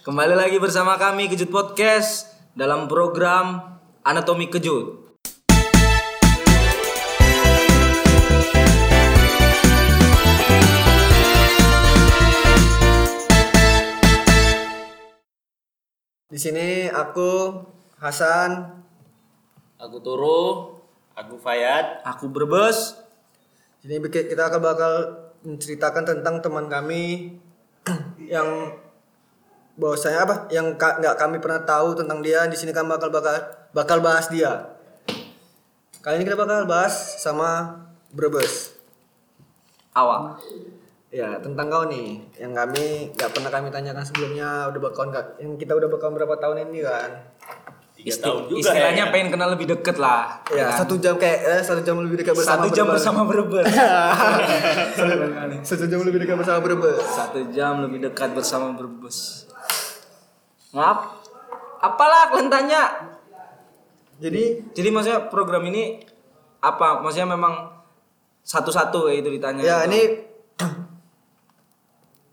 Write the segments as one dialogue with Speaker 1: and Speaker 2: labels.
Speaker 1: Kembali lagi bersama kami Kejut Podcast dalam program Anatomi Kejut.
Speaker 2: Di sini aku Hasan.
Speaker 3: Aku Toro, aku Fayad.
Speaker 1: Aku Brebes.
Speaker 2: Jadi bik- kita akan bakal menceritakan tentang teman kami yang bahwasanya apa? Yang ka- nggak kami pernah tahu tentang dia. Di sini kami bakal bakal bakal bahas dia. Kali ini kita bakal bahas sama Brebes.
Speaker 1: Awak.
Speaker 2: Ya tentang kau nih, yang kami nggak pernah kami tanyakan sebelumnya. Udah bakalan nggak- yang kita udah bakalan berapa tahun ini kan?
Speaker 3: Tiga tahun juga
Speaker 1: istilahnya
Speaker 3: ya.
Speaker 1: pengen kenal lebih deket lah.
Speaker 2: Ya
Speaker 1: kan?
Speaker 2: satu jam kayak eh, satu jam lebih dekat bersama.
Speaker 1: Satu jam
Speaker 2: Brebes.
Speaker 1: bersama Brebes.
Speaker 2: Satu jam lebih dekat bersama Brebes.
Speaker 1: Satu jam lebih dekat bersama Brebes. Maaf. Apalah kalian tanya?
Speaker 2: Jadi
Speaker 1: Jadi maksudnya program ini apa? Maksudnya memang satu-satu ya itu ditanya.
Speaker 2: Ya ini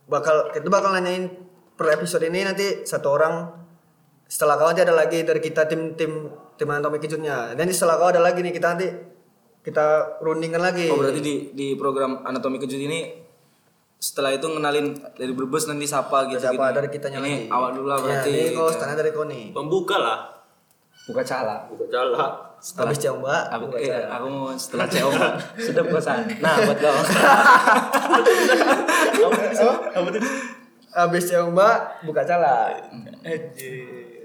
Speaker 2: bakal kita bakal nanyain per episode ini nanti satu orang setelah kau nanti ada lagi dari kita tim tim tim anatomi kejutnya. Nanti setelah kau ada lagi nih kita nanti kita rundingkan lagi.
Speaker 1: Oh berarti di di program anatomi kejut ini setelah itu ngenalin dari Brebes nanti siapa gitu
Speaker 2: Siapa dari kitanya
Speaker 1: ini
Speaker 2: lagi?
Speaker 1: awal dulu lah berarti. gitu.
Speaker 2: Ya, ini kau standar dari kau nih.
Speaker 3: Pembuka lah.
Speaker 1: buka salah.
Speaker 3: Buka jalan.
Speaker 2: Habis jam mbak.
Speaker 1: Aku, eh, aku mau setelah CEO Mbak. sudah buka salah. Nah buat kau.
Speaker 2: Habis jam mbak buka cala.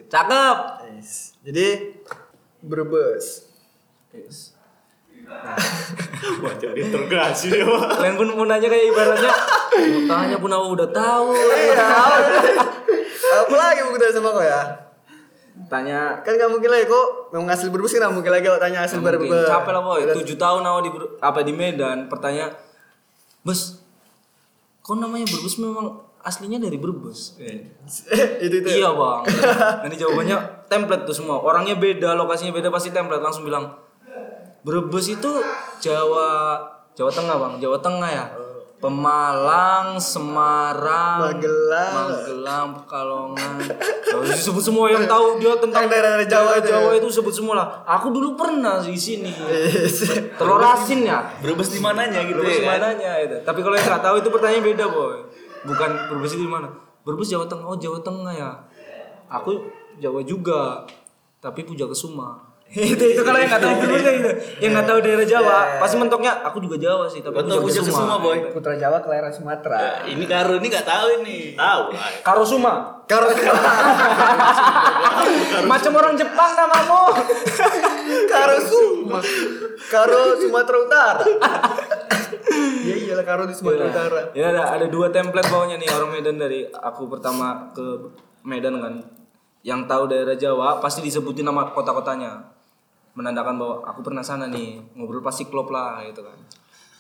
Speaker 1: Cakep.
Speaker 2: Nice. Jadi berbes. Nah.
Speaker 3: Wah, jadi integrasi ya, Pak.
Speaker 1: Kalian pun mau nanya kayak ibaratnya. Mau tanya pun aku udah tahu.
Speaker 2: Iya. Apa lagi mau tanya sama kau ya?
Speaker 1: Tanya.
Speaker 2: kan gak mungkin lah ya kok memang asli berbus kan gak mungkin lagi kalau tanya asli
Speaker 1: Mungkin
Speaker 2: berbus
Speaker 1: capek lah boy. Tujuh tahun awal di Ber- apa di Medan. Pertanyaan. Bes. Kok namanya Brebes memang aslinya dari Brebes?
Speaker 2: Iya. itu itu
Speaker 1: Iya bang. Nanti jawabannya template tuh semua. Orangnya beda, lokasinya beda pasti template langsung bilang. Brebes itu Jawa Jawa Tengah bang, Jawa Tengah ya. Pemalang, Semarang,
Speaker 2: Magelang.
Speaker 1: Magelang, Pekalongan. Kalau disebut semua yang tahu dia tentang
Speaker 2: Yang daerah-daerah
Speaker 1: daerah
Speaker 2: Jawa itu. ya? Iya,
Speaker 1: Jawa itu sebut semua lah. Aku dulu pernah di sini. Telur asin ya.
Speaker 3: Berbes di mananya gitu
Speaker 1: Brebes
Speaker 3: ya. kan?
Speaker 1: mananya itu. Tapi kalau yang nggak tahu itu pertanyaan beda boy. Bukan Brebes itu di mana? Brebes Jawa Tengah. Oh Jawa Tengah ya. Aku Jawa juga. Tapi puja Kesuma. itu itu kalau yang nggak tahu Brebesnya gitu. Yang nggak tahu daerah Jawa pasti mentoknya aku juga Jawa sih. Tapi
Speaker 3: Betul puja Kesuma, boy.
Speaker 2: putra jawa kelahiran sumatera
Speaker 3: Ini Karo ini nggak tahu ini. Tahu lah.
Speaker 1: Karosuma.
Speaker 2: karo
Speaker 1: Macam orang Jepang namamu.
Speaker 2: karo suma karo sumatera utara iya iyalah karo di sumatera utara
Speaker 1: ya ada, ada dua template bawahnya nih orang Medan dari aku pertama ke Medan kan yang tahu daerah Jawa pasti disebutin nama kota-kotanya menandakan bahwa aku pernah sana nih ngobrol pasti klop lah gitu kan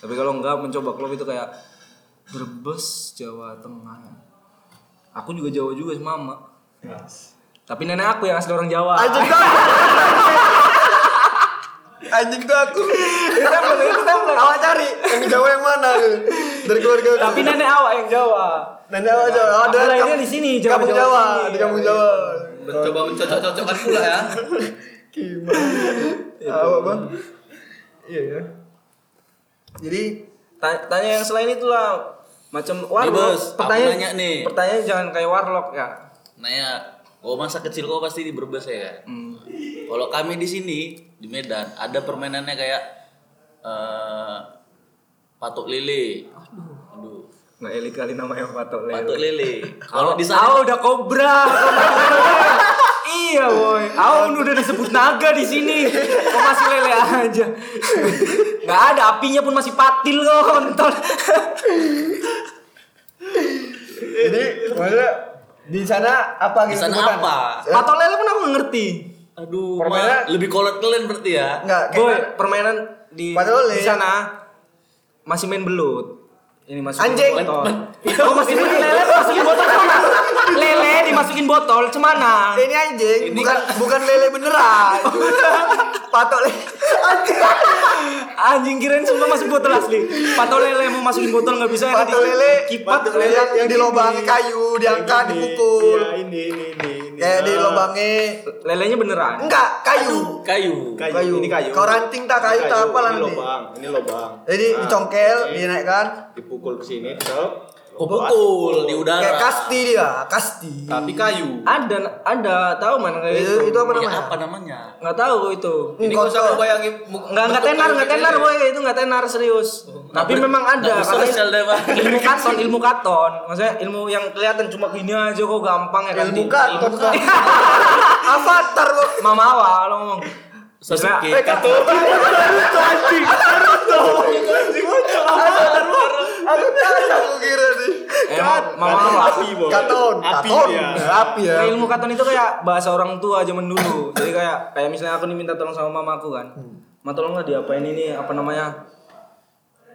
Speaker 1: tapi kalau enggak mencoba klop itu kayak Brebes Jawa Tengah aku juga Jawa juga mama tapi nenek aku yang asli orang Jawa
Speaker 2: anjing tuh aku. anjing tuh aku
Speaker 1: Itu template, itu template.
Speaker 2: awak cari yang jawa yang mana dari keluarga
Speaker 1: tapi nenek awak yang Jawa
Speaker 2: nanti awak jawa awak
Speaker 1: Aku
Speaker 2: dari
Speaker 1: lahirnya
Speaker 2: kamp-
Speaker 1: di sini, Jawa-
Speaker 2: kampung
Speaker 1: Jawa
Speaker 2: jawa
Speaker 1: sini.
Speaker 2: di kampung jawa
Speaker 3: Coba mencocok-cocokkan pula ya.
Speaker 2: gimana awak bang iya ya jadi
Speaker 1: Ta- tanya yang selain itulah macam warlock.
Speaker 3: Bos, aku
Speaker 1: pertanyaan
Speaker 3: nanya nih.
Speaker 1: Pertanyaan jangan kayak warlock ya.
Speaker 3: Nah ya, oh masa kecil kau pasti di Brebes ya. kan?
Speaker 1: Hmm.
Speaker 3: Kalau kami di sini di Medan ada permainannya kayak eh patok lele. Aduh.
Speaker 1: Nggak elit kali namanya patok
Speaker 3: Patok
Speaker 1: lele.
Speaker 3: lele.
Speaker 1: Kalau
Speaker 3: Kalau di sana
Speaker 1: Aku udah kobra. iya boy. Aku udah disebut naga di sini. Kok masih lele aja. Nggak ada apinya pun masih patil kok kontol.
Speaker 2: jadi maksudnya di sana apa
Speaker 3: di
Speaker 2: gitu
Speaker 3: sana
Speaker 2: sebutan?
Speaker 3: apa?
Speaker 1: patok lele pun aku nggak ngerti.
Speaker 3: Aduh,
Speaker 2: Permainan-
Speaker 3: Ma, lebih kolot kalian berarti ya.
Speaker 2: enggak
Speaker 1: boy,
Speaker 2: kayak
Speaker 1: permainan di
Speaker 2: Patok lele.
Speaker 1: di sana masih main belut. ini masukin
Speaker 2: Anjing.
Speaker 1: botol.
Speaker 2: Oh, masih
Speaker 1: Ini lele masukin botol cemana? Lele dimasukin botol cemana?
Speaker 2: Ini anjing,
Speaker 3: Ini
Speaker 2: bukan bukan lele beneran. Patok lele. Anjing.
Speaker 1: Anjing kirain semua masuk botol asli. Pato lele mau masukin botol nggak bisa
Speaker 2: Patok
Speaker 1: nanti
Speaker 2: lele.
Speaker 1: Kipat
Speaker 2: Patok lele yang, kan. yang di lubang kayu diangkat dipukul.
Speaker 4: Iya, ini ini ini. ini.
Speaker 2: Kayak di
Speaker 4: Ah,
Speaker 2: lubangnya
Speaker 1: Lelenya beneran.
Speaker 2: enggak kayu.
Speaker 3: kayu.
Speaker 4: kayu.
Speaker 2: kayu.
Speaker 4: Ini kayu.
Speaker 2: Kau ranting tak kayu, tak apa lah
Speaker 4: Ini
Speaker 2: nanti.
Speaker 4: lubang, ini lubang.
Speaker 2: Jadi
Speaker 4: Nah,
Speaker 2: dicongkel,
Speaker 4: ini
Speaker 2: dinaikkan.
Speaker 4: dipukul ke sini, terus
Speaker 3: Oh, pukul di udara.
Speaker 2: Kayak kasti dia, kasti.
Speaker 4: Tapi kayu.
Speaker 1: Ada ada tahu mana kayak gitu?
Speaker 2: Itu, itu apa
Speaker 3: Namanya
Speaker 2: namanya?
Speaker 3: apa namanya?
Speaker 1: Nggak tahu itu.
Speaker 2: Hmm,
Speaker 4: Ini kau
Speaker 2: kotor.
Speaker 4: usah bayangin
Speaker 1: Nggak nggak tenar nggak tenar boy
Speaker 2: gitu.
Speaker 1: itu nggak tenar serius.
Speaker 2: Oh,
Speaker 1: Tapi memang ada
Speaker 3: Nggak usah sel
Speaker 1: karena
Speaker 3: deh, Bang.
Speaker 1: ilmu katon ilmu katon maksudnya ilmu yang kelihatan cuma gini aja kok gampang ya kan
Speaker 2: Ilmu katon. Bang. Avatar lo.
Speaker 1: mama awal lo ngomong
Speaker 3: Sasuke.
Speaker 1: Maksudnya,
Speaker 2: Aku tahu aku kira nih.
Speaker 1: eh, ma- mama awal
Speaker 4: api, Boy.
Speaker 2: Katon,
Speaker 4: Api iya.
Speaker 2: katon.
Speaker 4: dia.
Speaker 2: Api ya.
Speaker 1: Kayak ilmu katon itu kayak bahasa orang tua zaman dulu. Jadi kayak kayak misalnya aku diminta tolong sama mamaku kan.
Speaker 2: Hmm.
Speaker 1: Ma tolong nggak diapain ini apa namanya?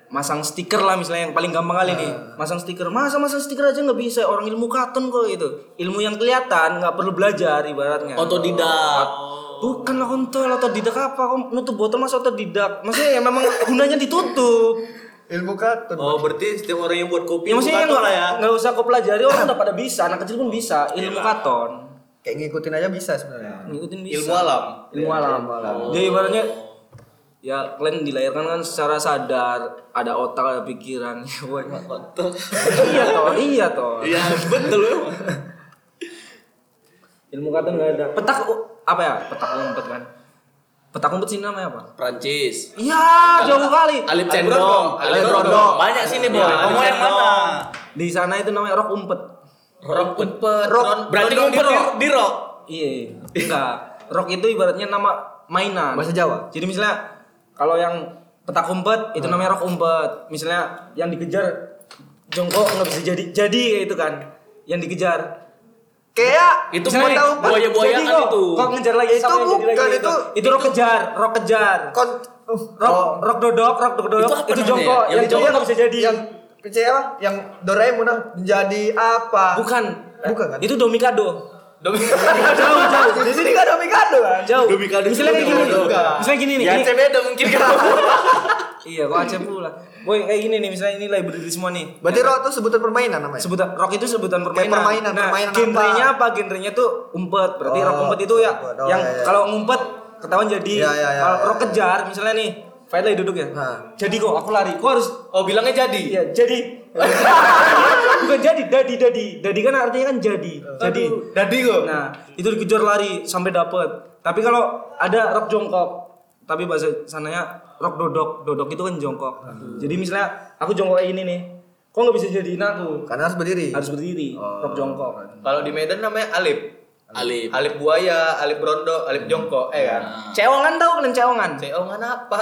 Speaker 1: Masang stiker lah misalnya yang paling gampang kali nih.
Speaker 2: Hmm.
Speaker 1: Masang stiker. Masa masang stiker aja nggak bisa orang ilmu katon kok gitu. Ilmu yang kelihatan nggak perlu belajar ibaratnya.
Speaker 3: Oh, Otodidak.
Speaker 1: Bukan lah kontol otodidak apa? Kok nutup botol masa otodidak? Maksudnya ya memang gunanya ditutup.
Speaker 2: Ilmu katon.
Speaker 3: Oh, berarti setiap orang yang buat kopi
Speaker 1: Ya maksudnya
Speaker 3: bukan
Speaker 1: nggak
Speaker 3: lah ya.
Speaker 1: nggak usah kau pelajari orang udah pada bisa. Anak kecil pun bisa ilmu katon.
Speaker 2: Kayak ngikutin aja bisa sebenarnya.
Speaker 1: Ngikutin bisa.
Speaker 4: ilmu alam.
Speaker 1: ilmu alam. Jadi ibaratnya ya kalian dilahirkan kan secara sadar ada otak ada pikiran Ya, woy.
Speaker 3: Kontol.
Speaker 1: iya toh iya toh
Speaker 3: Ya, betul ya.
Speaker 1: ilmu kata nggak ada petak apa ya petak umpet kan petak umpet sih namanya apa
Speaker 3: Prancis.
Speaker 1: iya jauh kali
Speaker 3: Alip Cendong, Alip Brondong. Iya, Banyak sini, Boy. Kamu yang mana?
Speaker 1: di sana itu namanya rok umpet
Speaker 3: Rok umpet.
Speaker 2: Rok.
Speaker 3: Berarti
Speaker 2: Brondong
Speaker 3: umpet
Speaker 2: di
Speaker 3: di- di rok.
Speaker 1: iya enggak rok itu ibaratnya nama mainan
Speaker 2: Bahasa Jawa.
Speaker 1: Jadi misalnya kalau yang petak umpet
Speaker 2: Hmm.
Speaker 1: itu namanya rok umpet. Misalnya yang dikejar jongkok nggak bisa jadi jadi kayak itu kan. Yang dikejar.
Speaker 2: Kayak
Speaker 3: Itu
Speaker 1: Misalnya
Speaker 3: buat
Speaker 1: nih,
Speaker 3: tahu buaya-buayaan
Speaker 1: jadi kok,
Speaker 3: itu.
Speaker 1: Kok ngejar lagi
Speaker 2: Itu
Speaker 1: sama yang jadi
Speaker 2: bukan,
Speaker 1: lagi
Speaker 2: itu-
Speaker 1: itu rok kejar, rok kejar.
Speaker 2: kon oh,
Speaker 1: Rok rok dodok, rok dodok
Speaker 3: Itu
Speaker 1: itu,
Speaker 3: apa namanya
Speaker 1: jongkok.
Speaker 3: ya?
Speaker 1: Yang,
Speaker 3: Yang
Speaker 1: jadi
Speaker 3: jongkok
Speaker 1: nggak oh, bisa jadi.
Speaker 2: yang percaya apa? Yang Doraemon lah, menjadi apa?
Speaker 1: bukan.
Speaker 2: Bukan kan?
Speaker 1: Itu domikado.
Speaker 2: jauh jauh. Di sini gak ada Mikado kan?
Speaker 1: Jauh.
Speaker 3: Domikado itu
Speaker 1: misalnya kayak gini.
Speaker 3: domikado.
Speaker 1: nih. Misalnya gini nih.
Speaker 3: Ya,
Speaker 1: ini-
Speaker 3: Aceh beda mungkin kamu.
Speaker 1: Iya, kok Aceh pula. Boy, kayak gini nih misalnya ini library semua nih.
Speaker 2: Berarti roh itu sebutan permainan namanya.
Speaker 1: sebutan rock itu sebutan permainan.
Speaker 2: permainan,
Speaker 1: nah,
Speaker 2: permainan
Speaker 1: genrenya apa? Genrenya tuh umpet. Berarti
Speaker 2: Oh,
Speaker 1: rock umpet itu ya
Speaker 2: umpet. Oh,
Speaker 1: yang
Speaker 2: iya, iya.
Speaker 1: kalau ngumpet ketahuan jadi.
Speaker 2: Iya, iya, iya,
Speaker 1: kalau
Speaker 2: iya,
Speaker 1: rock
Speaker 2: iya.
Speaker 1: kejar misalnya nih, Fight lagi duduk ya.
Speaker 2: Nah.
Speaker 1: Jadi kok aku lari. Kok harus
Speaker 3: Oh, bilangnya jadi.
Speaker 1: Iya, jadi. Bukan jadi, dadi dadi. Dadi kan artinya kan jadi. Jadi.
Speaker 4: Dadi kok.
Speaker 1: Nah, itu dikejar lari sampai dapet. Tapi kalau ada rock jongkok, tapi bahasa sananya rock dodok. Dodok itu kan jongkok. Jadi misalnya aku jongkok kayak gini nih. Kok nggak bisa jadiin aku?
Speaker 2: Karena harus berdiri.
Speaker 1: harus berdiri rok jongkok
Speaker 4: Kalau di Medan namanya alip.
Speaker 3: Alip.
Speaker 4: Alip buaya, alip brondo, alip jongkok, eh kan.
Speaker 3: Iya.
Speaker 1: ceongan tau kalian ceongan
Speaker 4: Ceongan apa?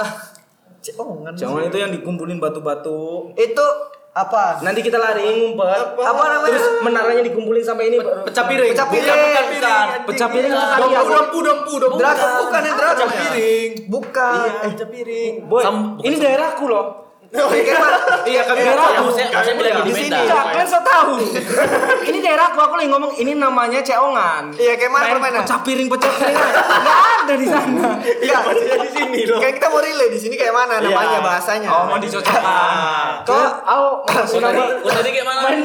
Speaker 2: Ceongan.
Speaker 1: ceongan itu Nah, yang dikumpulin batu-batu
Speaker 2: Itu apa?
Speaker 1: nanti kita lari ngumpet
Speaker 2: Apa namanya?
Speaker 1: terus menaranya dikumpulin sampai ini baru-
Speaker 3: Pecah piring.
Speaker 2: Pecah piring. iya.
Speaker 3: Bukan, bukan
Speaker 2: Bukan.
Speaker 3: piring.
Speaker 1: pecah piring itu tadi
Speaker 4: Dompu,
Speaker 1: aku
Speaker 4: dompu, dompu, dompu.
Speaker 2: Dragon bukan yang dragon.
Speaker 3: ya?
Speaker 4: Pecah piring.
Speaker 1: Iya,
Speaker 2: Bukan. Eh,
Speaker 4: piring.
Speaker 1: boy
Speaker 3: Sam- bukan
Speaker 1: ini daerahku loh
Speaker 2: Oh, kan,
Speaker 4: Iya, kami
Speaker 1: Daerah
Speaker 4: tahu.
Speaker 1: aku,
Speaker 3: saya- saya bilang
Speaker 4: tahu.
Speaker 3: di
Speaker 4: sini.
Speaker 3: Medan.
Speaker 1: Enggak, kalian so tahu. ini daerahku aku lagi ngomong ini namanya ceongan.
Speaker 2: Iya, kayak mana permainan?
Speaker 1: Pecah piring, pecah piring. Enggak ada di sana.
Speaker 4: Iya, maksudnya di sini loh.
Speaker 2: Kayak kita mau relay di sini kayak mana kan,
Speaker 4: Iya.
Speaker 2: namanya bahasanya.
Speaker 1: Oh, mau dicocokkan.
Speaker 4: Ah.
Speaker 1: Kok au maksud
Speaker 3: Tadi,
Speaker 1: apa?
Speaker 3: gua tadi kayak mana?
Speaker 1: Main.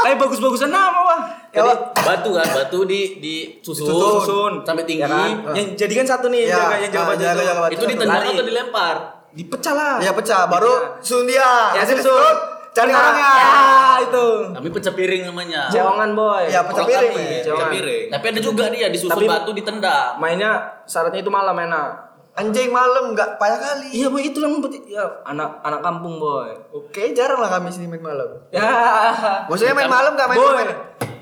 Speaker 1: Kayak bagus-bagusan nama, Bang.
Speaker 3: Jadi batu kan, batu di di susun,
Speaker 1: susun
Speaker 3: sampai tinggi. Iya.
Speaker 1: ya kan? yang jadi kan satu nih
Speaker 2: Ya,
Speaker 1: jaga yang jaga
Speaker 2: ah,
Speaker 1: baju
Speaker 2: jaga-
Speaker 1: itu.
Speaker 2: jaga baju.
Speaker 3: Itu ditendang
Speaker 1: Lari.
Speaker 3: atau dilempar?
Speaker 1: dipecah lah
Speaker 2: Ya pecah baru Sundia.
Speaker 1: Iya. Ya,
Speaker 2: Hasil
Speaker 1: susun.
Speaker 2: susun. Cari
Speaker 1: Nah,
Speaker 2: orangnya.
Speaker 1: ya itu
Speaker 3: Tapi pecah piring namanya.
Speaker 1: ceongan boy
Speaker 2: Ya pecah
Speaker 3: Kalau
Speaker 2: piring.
Speaker 3: kami,
Speaker 1: Jawa.
Speaker 2: men.
Speaker 4: Pecah piring.
Speaker 3: Tapi ada juga dia disusun
Speaker 1: Tapi-
Speaker 3: batu ditendang.
Speaker 1: mainnya syaratnya itu malam enak
Speaker 2: Anjing malam nggak payah kali.
Speaker 1: iya boy itu yang membuat- ya anak anak kampung boy
Speaker 2: Oke, jarang lah kami sini main malam.
Speaker 1: ya
Speaker 2: Maksudnya main malam Iya. nggak main
Speaker 1: boy
Speaker 2: main.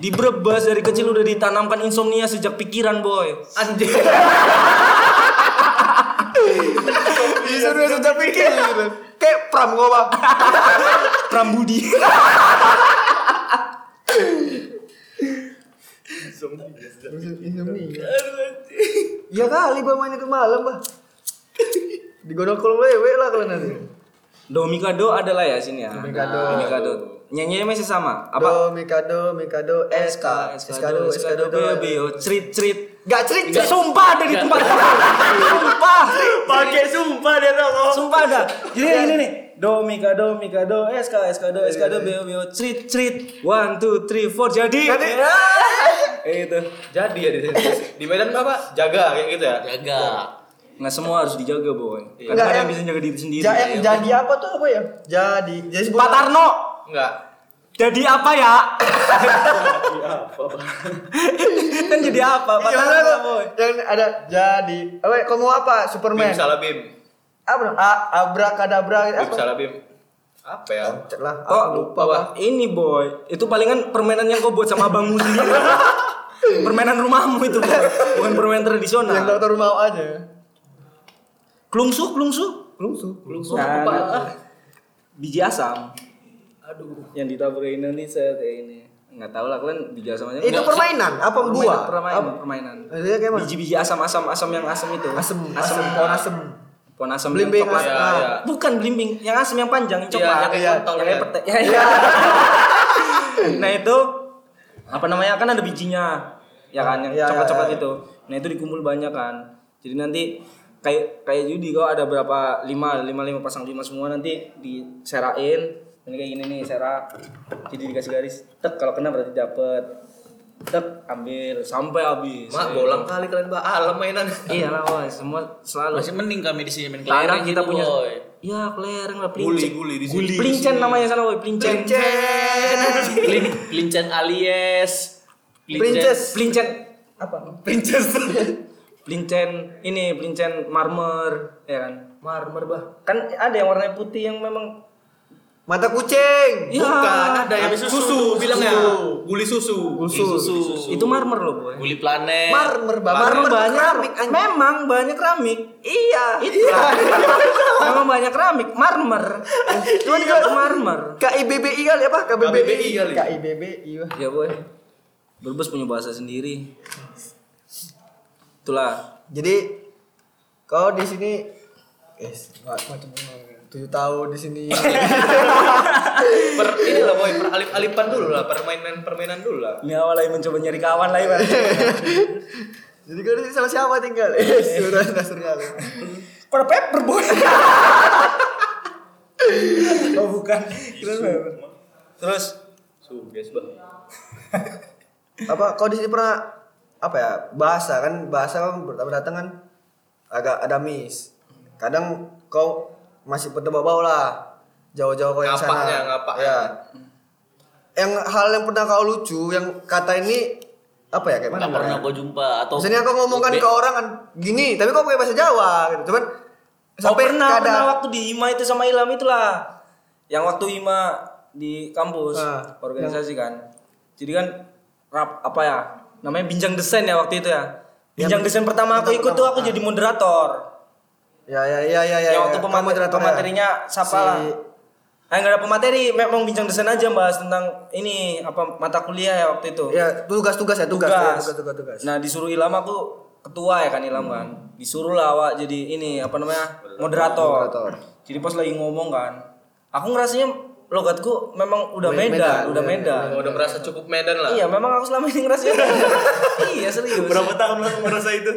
Speaker 1: di Brebes dari kecil udah ditanamkan insomnia sejak pikiran boy
Speaker 4: Anjing.
Speaker 2: Disuruh sudah pikir. Iya, Kayak pram gua, Bang.
Speaker 1: Prambudi
Speaker 2: Iya kali Bang main itu malam, Bang. Digodok kolong lewe lah kalian nanti.
Speaker 1: Domikado adalah ya sini ya.
Speaker 2: Domikado.
Speaker 1: Domikado. Nyanyinya masih sama. Apa?
Speaker 2: Apa? Do, Mikado, Mikado, SK, Eskado, Eskado,
Speaker 1: BBO, cerit cerit.
Speaker 2: Gak cerit,
Speaker 1: Enggak sumpah ada di tempat. sumpah.
Speaker 4: Pakai sumpah dia tau kok.
Speaker 1: Sumpah ada. Jadi yang Iya, ini nih. Domikado, Mikado, SK, Eskado, Eskado, BBO, cerit cerit. One, two, three, four. Jadi. ya.
Speaker 2: Jadi.
Speaker 1: Eh, itu.
Speaker 4: Jadi ya di, di Medan apa? Jaga kayak gitu ya.
Speaker 3: Jaga.
Speaker 1: Nah semua harus dijaga boy. Karena
Speaker 2: Enggak,
Speaker 1: ada yang
Speaker 2: yang-
Speaker 1: bisa jaga diri sendiri. ya.
Speaker 2: Ja- yang jadi apa tuh apa ya? Jadi, jadi
Speaker 1: Pak Tarno.
Speaker 4: Enggak.
Speaker 1: Jadi apa ya? kan jadi apa? Pak
Speaker 2: Yang
Speaker 1: Tarno
Speaker 2: ada
Speaker 1: boy.
Speaker 2: yang ada jadi. Apa? ya, Kamu apa?
Speaker 4: Bim
Speaker 2: Superman.
Speaker 4: salah Bim.
Speaker 2: Apa? A- Abrakadabra
Speaker 4: Bim
Speaker 2: apa?
Speaker 4: salah Bim. Apa ya?
Speaker 2: Cet lah,
Speaker 1: Kok
Speaker 2: aku lupa.
Speaker 1: lupa Ini boy, itu palingan permainan yang kau buat sama abangmu sendiri. permainan rumahmu itu boy. bukan permainan
Speaker 2: Yang tahu
Speaker 1: tradisional.
Speaker 2: tahu mau aja.
Speaker 1: Klungsu, klungsu,
Speaker 2: Lungsu.
Speaker 1: klungsu. biji asam. Aduh. Yang ditaburin ini set kayak ini. Nggak tahu lah kalian biji asam aja.
Speaker 2: Itu
Speaker 1: Nggak.
Speaker 2: permainan Eh, apa buah?
Speaker 1: permainan, permainan, permainan.
Speaker 2: Maksudnya kayak mana?
Speaker 1: Biji-biji asam-asam asam yang asam itu.
Speaker 2: Asem,
Speaker 1: asam,
Speaker 2: asem, pohon asem.
Speaker 1: Pohon asam yang
Speaker 2: Belimbing Ah.
Speaker 1: coklat.
Speaker 2: asam.
Speaker 4: Ya, ya.
Speaker 1: Bukan belimbing, yang asam yang panjang, yang coklat.
Speaker 4: yang kayak
Speaker 1: Iya,
Speaker 4: kontol
Speaker 1: yang kayak
Speaker 4: ya.
Speaker 1: pete- ya, iya. nah itu apa namanya kan ada bijinya ya kan yang
Speaker 2: Iya, iya,
Speaker 1: coklat-coklat
Speaker 2: iya.
Speaker 1: itu. Nah itu dikumpul banyak kan. Jadi nanti kayak kayak judi kau ada berapa lima lima lima pasang lima semua nanti diserain ini kayak gini nih serak jadi dikasih garis tek kalau kena berarti dapet tek ambil sampai habis
Speaker 4: Mak bolang kali kalian mbak alam mainan.
Speaker 1: iya lah woy, semua selalu
Speaker 3: Masih mending kami di sini main
Speaker 1: Tanah
Speaker 3: kelereng
Speaker 1: kita
Speaker 3: gitu,
Speaker 1: punya.
Speaker 3: boy.
Speaker 1: Ya, kelereng lah
Speaker 4: Guli,
Speaker 1: pelincen.
Speaker 4: guli di sini. Guli di
Speaker 1: Pelincen
Speaker 4: sini.
Speaker 1: namanya sana, boy, pelincen.
Speaker 2: Princess.
Speaker 3: Pelin- Pelincen alias
Speaker 2: Princess.
Speaker 1: Pelincen.
Speaker 2: Apa?
Speaker 3: Princess.
Speaker 1: Pelincen ini pelincen marmer, ya kan?
Speaker 2: Marmer bah.
Speaker 1: Kan ada yang warnanya putih yang memang
Speaker 2: Mata kucing.
Speaker 1: Ya.
Speaker 4: Bukan ada yang
Speaker 3: Habis
Speaker 4: susu,
Speaker 3: susu,
Speaker 4: bilangnya.
Speaker 2: susu.
Speaker 4: Guli susu.
Speaker 3: Susu.
Speaker 1: Itu marmer loh, boy.
Speaker 3: Guli planet.
Speaker 2: Marmer bah.
Speaker 1: Marmer
Speaker 2: Marmer
Speaker 1: banyak
Speaker 2: keramik, anjing.
Speaker 1: Memang banyak keramik. Iya, itu. memang banyak keramik, marmer. Cuman
Speaker 2: Iya.
Speaker 1: kalau marmer.
Speaker 2: KIBBI kali apa? KBBI
Speaker 4: KBBI kali.
Speaker 2: KIBBI. wah.
Speaker 1: Ya, boy. Berbes punya bahasa sendiri. Itulah.
Speaker 2: Jadi kau di sini guys, macam tujuh tahun di sini.
Speaker 4: Per ini lah boy, per alip alipan dulu lah, permainan permainan dulu lah.
Speaker 1: Ini awal lagi mencoba nyari kawan lah, Iwan.
Speaker 2: Jadi kau di sini sama siapa tinggal? Eh, sudah dasar kali.
Speaker 1: Kode paper boy. oh bukan. Terus
Speaker 4: Su, guys bah.
Speaker 2: Apa kau di sini pernah apa ya? Bahasa kan bahasa kan pertama datang kan agak ada miss. Kadang kau masih bertebak bau lah. Jauh-jauh kau yang sana.
Speaker 4: Ngapaknya, ngapaknya.
Speaker 2: Ya. Yang hal yang pernah kau lucu yang kata ini apa ya kayak mana?
Speaker 3: Gak pernah kau jumpa atau
Speaker 2: Misalnya aku ngomongkan
Speaker 3: Be-
Speaker 2: ke orang kan gini, tapi kok pakai bahasa Jawa gitu. Cuman
Speaker 1: sampai Oh, pernah,
Speaker 2: kadang-
Speaker 1: pernah waktu di Hima itu sama Ilham itulah. Yang waktu Hima di kampus
Speaker 2: Ah.
Speaker 1: organisasi kan. Jadi kan rap apa ya? Namanya Binjang Desain ya waktu itu ya. Binjang Desain pertama aku
Speaker 2: Binjang
Speaker 1: ikut tuh
Speaker 2: pertama,
Speaker 1: aku
Speaker 2: ah.
Speaker 1: jadi moderator.
Speaker 2: Ya ya ya ya ya.
Speaker 1: yang waktu
Speaker 2: ya.
Speaker 1: pemateri-
Speaker 2: Moderatornya.
Speaker 1: pematerinya siapa
Speaker 2: Si-
Speaker 1: lah? Ah nggak ada pemateri, memang bincang desain aja bahas tentang ini apa mata kuliah ya waktu itu.
Speaker 2: Ya tugas-tugas ya
Speaker 1: Tugas.
Speaker 2: tugas ya, tugas tugas tugas.
Speaker 1: Nah disuruh Ilham aku ketua ya kan Ilham kan. Disuruh lah awak jadi ini apa namanya moderator.
Speaker 2: Hmm. Moderator.
Speaker 1: Jadi pas lagi ngomong kan, aku ngerasanya logatku memang udah Medan,
Speaker 2: Me- Medan,
Speaker 1: udah
Speaker 2: iya,
Speaker 1: Medan.
Speaker 4: Emang udah merasa cukup Medan lah.
Speaker 1: Iya, memang aku selama ini ngerasanya. iya serius.
Speaker 4: tahun lah merasa itu?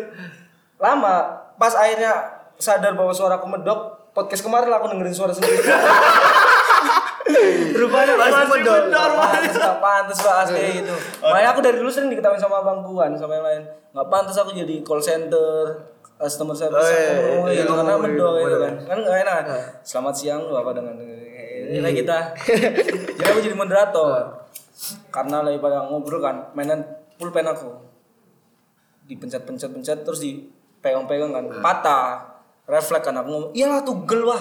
Speaker 1: Lama. Pas akhirnya sadar bahwa suaraku medok, podcast kemarin lah aku dengerin suara sendiri. Rupanya
Speaker 2: Masih medok.
Speaker 1: Nggak pantas, nggak pantas bahas
Speaker 2: Iya.
Speaker 1: kayak gitu. Makanya aku dari dulu sering diketahui sama abang Buan sama yang lain. Nggak pantas aku jadi call center, customer service,
Speaker 2: Oh, iya,
Speaker 1: aku ngomong
Speaker 2: iya,
Speaker 1: gitu
Speaker 2: iya,
Speaker 1: karena
Speaker 2: ngomong
Speaker 1: medok
Speaker 2: gitu,
Speaker 1: gitu kan.
Speaker 2: medok.
Speaker 1: Kan nggak enak kan. Selamat siang lu apa dengan
Speaker 2: Iya.
Speaker 1: ini kita. Jadi aku jadi moderator. Karena lagi pada ngobrol kan, mainan pulpen aku dipencet-pencet-pencet terus dipegang-pegang kan
Speaker 2: Iya.
Speaker 1: patah refleks kan aku ngomong iyalah tugel wah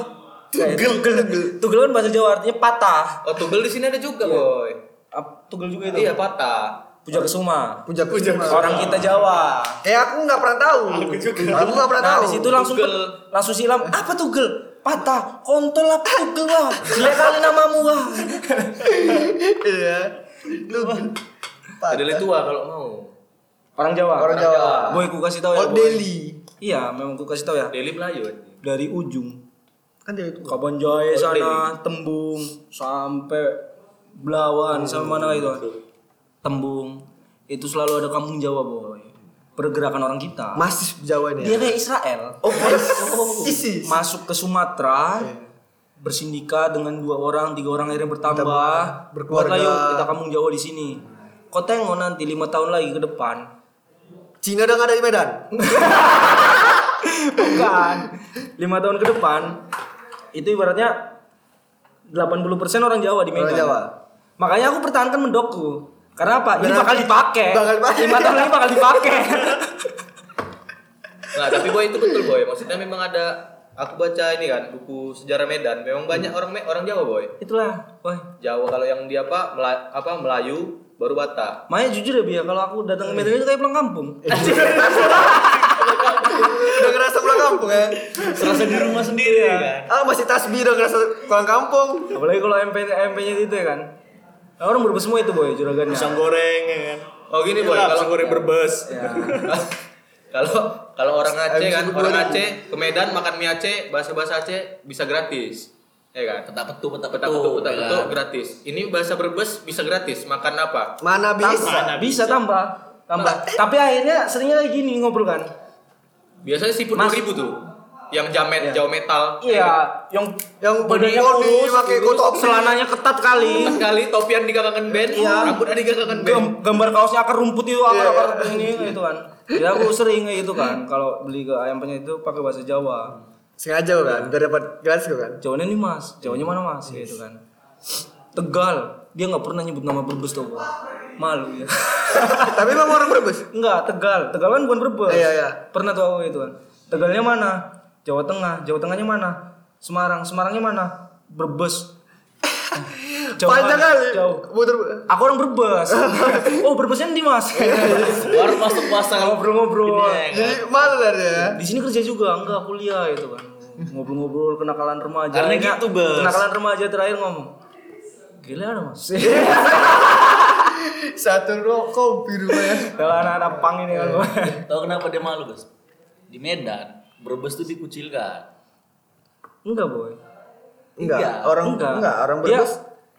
Speaker 1: tugel tugel tugel kan bahasa Jawa artinya patah
Speaker 4: Oh tugel di sini ada juga
Speaker 3: Iya.
Speaker 4: boy.
Speaker 1: Ap- tugel juga itu
Speaker 4: Iya patah.
Speaker 1: puja kesuma
Speaker 2: Puja puja.
Speaker 1: orang kita Jawa
Speaker 2: Eh aku nggak pernah tahu. Aku nggak pernah
Speaker 1: nah
Speaker 2: tahu.
Speaker 1: di situ langsung
Speaker 4: Tugel.
Speaker 1: pe- langsung silam apa tugel patah kontol lah tugel wah jelek kali namamu wah
Speaker 2: Iya. Tugas.
Speaker 4: Ada tua kalau mau.
Speaker 1: orang Jawa
Speaker 2: Orang Jawa.
Speaker 1: boy ku kasih tahu ya
Speaker 2: Old
Speaker 1: boy
Speaker 2: Delhi.
Speaker 1: iya memang ku kasih tahu ya
Speaker 4: Deli Melayu. anjing.
Speaker 1: dari ujung
Speaker 2: kan dari itu
Speaker 1: Kaban Jaya sana, Tembung, sampai Belawan, sama mana itu? Tembung. Itu selalu ada kampung Jawa, boy. Pergerakan orang kita.
Speaker 2: masih Jawa ini
Speaker 1: Dia
Speaker 2: ya
Speaker 1: kayak Israel.
Speaker 2: oh isi
Speaker 1: Masuk ke Sumatera,
Speaker 2: Iya.
Speaker 1: bersindika dengan dua orang, tiga orang akhirnya bertambah. Berkeluarga.
Speaker 2: berkeluarga.
Speaker 1: yuk kita kampung Jawa di sini. Kau tengok nanti lima tahun lagi ke depan,
Speaker 2: Cina udah nggak ada di Medan
Speaker 1: Bukan. Lima tahun ke depan itu ibaratnya 80% orang Jawa di Medan.
Speaker 2: Orang Jawa.
Speaker 1: Makanya aku pertahankan mendokku. Karena apa? Ini
Speaker 2: Berarti-
Speaker 1: bakal dipakai.
Speaker 2: bakal dipakai.
Speaker 1: Lima tahun lagi bakal dipakai.
Speaker 4: Nah, tapi boy itu betul boy. Maksudnya memang ada aku baca ini kan buku sejarah Medan. Memang banyak orang Me- orang Jawa boy.
Speaker 1: Itulah. Wah.
Speaker 4: Jawa kalau yang dia apa Mela- apa Melayu baru Batak.
Speaker 1: Makanya jujur ya Bia, kalau aku datang ke Medan itu kayak pulang kampung.
Speaker 2: udah ngerasa pulang kampung ya
Speaker 3: Serasa di rumah sendiri kan.
Speaker 2: ah masih tasbih udah ngerasa pulang kampung
Speaker 1: Apalagi kalau MP MP-nya itu ya kan. Nah, orang berubah semua itu boy juragannya.
Speaker 5: Pisang goreng ya kan.
Speaker 4: Oh
Speaker 2: Iya,
Speaker 4: gini boy,
Speaker 5: Lah,
Speaker 4: kalau
Speaker 5: pisang goreng berbes.
Speaker 1: Ya.
Speaker 4: kalau kalau orang Aceh
Speaker 2: Habis
Speaker 4: kan,
Speaker 2: itu
Speaker 4: orang
Speaker 2: keluar
Speaker 4: Aceh ke Medan makan mie Aceh, bahasa-bahasa Aceh bisa gratis. Ya kan?
Speaker 3: Petak petu, petak
Speaker 4: Petak
Speaker 3: petu,
Speaker 4: petuk, petak
Speaker 3: ya kan?
Speaker 4: petuk gratis. Ini bahasa Brebes bisa gratis. Makan apa?
Speaker 2: mana bisa Nah, eh.
Speaker 5: Mana?
Speaker 1: Bisa tambah. Tambah. Tapi akhirnya seringnya kayak gini ngobrol kan.
Speaker 4: Biasanya siput
Speaker 1: Mas-
Speaker 4: 2000 tuh. Yang jamet, jauh metal.
Speaker 1: Iya, yang
Speaker 2: yang
Speaker 1: badannya
Speaker 2: badannya lurus
Speaker 1: lurus,
Speaker 2: pakai
Speaker 1: lurus,
Speaker 2: kotak Iya.
Speaker 1: celananya ketat kali.
Speaker 4: Sekali Iya. topian digagangan band, rambutnya digagangan band.
Speaker 1: Gam- gambar kaosnya akar rumput itu akar
Speaker 2: Iya.
Speaker 1: akar ini gitu kan ya aku sering kayak gitu kan kalau beli ke ayam penyet itu pakai bahasa Jawa
Speaker 2: sengaja lo kan biar dapat gratis lo kan
Speaker 1: Jawanya nih mas Jawanya mana mas gitu kan Tegal dia nggak pernah nyebut nama Brebes tau gua. malu ya
Speaker 2: tapi emang orang berbes
Speaker 1: Enggak, Tegal. Tegal kan bukan Brebes.
Speaker 2: Iya, iya.
Speaker 1: Pernah tuh aku itu kan. Tegalnya mana? Jawa Tengah. Jawa Tengahnya mana? Semarang. Semarangnya mana? Brebes.
Speaker 2: panjang kali
Speaker 1: Jauh.
Speaker 2: muter
Speaker 1: Aku orang Brebes. oh, Brebesnya di Mas.
Speaker 2: Iya,
Speaker 3: Baru masuk puasa ya, kan. kalau
Speaker 1: Ngobrol-ngobrol.
Speaker 2: jadi
Speaker 5: Iya.
Speaker 2: malu lah dia ya
Speaker 1: Di sini kerja juga, enggak kuliah itu kan. Ngobrol-ngobrol kenakalan remaja.
Speaker 3: Karena
Speaker 1: Akhirnya
Speaker 3: gitu, Bes.
Speaker 1: Kenakalan remaja terakhir ngomong. Gila ada Mas.
Speaker 2: Iya. satu rokok di rumah ya
Speaker 1: Kalau anak-anak pang ini
Speaker 2: Iya.
Speaker 1: kan. Bos.
Speaker 3: Tahu kenapa dia malu, Bos? Di Medan, Brebes tuh dikucilkan.
Speaker 1: Enggak, Boy.
Speaker 2: enggak
Speaker 3: Iya,
Speaker 2: orang
Speaker 1: enggak,
Speaker 2: enggak orang
Speaker 1: Dia
Speaker 5: Iya.
Speaker 2: berbes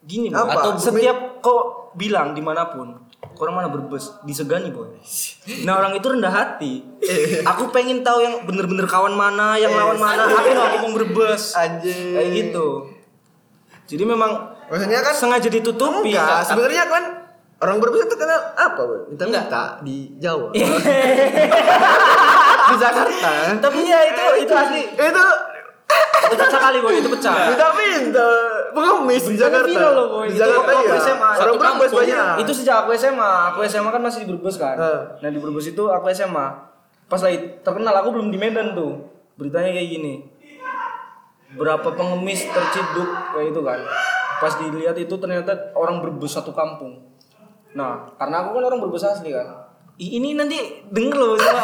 Speaker 1: gini boy.
Speaker 2: Apa?
Speaker 1: atau setiap kau bilang dimanapun orang mana berbes disegani boy nah orang itu rendah hati aku pengen tahu yang bener-bener kawan mana yang lawan mana aku nggak ngomong berbes
Speaker 2: anjing
Speaker 1: kayak
Speaker 5: Eh,
Speaker 1: gitu jadi memang
Speaker 2: maksudnya kan
Speaker 1: sengaja
Speaker 5: Iya.
Speaker 1: ditutupi
Speaker 2: enggak sebenarnya kan orang berbes itu kenal apa bu minta minta di Jawa di Jakarta
Speaker 1: tapi ya itu itu asli
Speaker 2: itu
Speaker 1: itu pecah kali boy itu pecah
Speaker 2: minta minta pengemis di
Speaker 1: Karena
Speaker 2: Jakarta
Speaker 1: viral loh, Boy.
Speaker 2: di
Speaker 1: Itu
Speaker 2: Jakarta
Speaker 1: waktu
Speaker 2: ya
Speaker 1: SMA.
Speaker 2: orang
Speaker 1: Satu
Speaker 2: berbes
Speaker 1: kampung.
Speaker 2: banyak
Speaker 1: Itu sejak aku SMA. Aku SMA kan masih di Brebes kan.
Speaker 2: Heeh.
Speaker 1: Nah di Brebes itu aku SMA. Pas lagi terkenal aku belum di Medan tuh. Beritanya kayak gini. Berapa pengemis terciduk kayak itu kan. Pas dilihat itu ternyata orang Brebes satu kampung. Nah karena aku kan orang Brebes asli kan. Ih, Ini nanti denger loh. semua.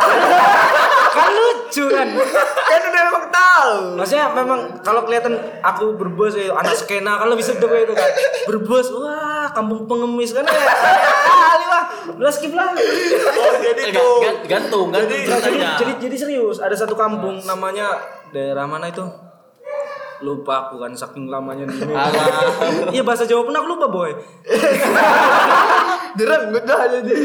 Speaker 1: kan lucu kan.
Speaker 2: kan udah emang tahu
Speaker 1: Maksudnya memang kalau kelihatan aku berbes ya, anak skena kan lebih sedep ya itu kan. Berbes, wah kampung pengemis kan kayak kali lah. Udah skip lah.
Speaker 5: Oh, jadi
Speaker 3: Eh,
Speaker 5: tuh.
Speaker 3: gan- gan- gantung,
Speaker 1: Nah,
Speaker 3: gantung
Speaker 1: jadi,
Speaker 3: ceritanya.
Speaker 1: jadi, jadi serius, ada satu kampung namanya daerah mana itu? Lupa aku kan saking lamanya di Medan.
Speaker 3: Alah.
Speaker 1: Iya bahasa Jawa pun aku lupa boy.
Speaker 2: direnggut dah jadi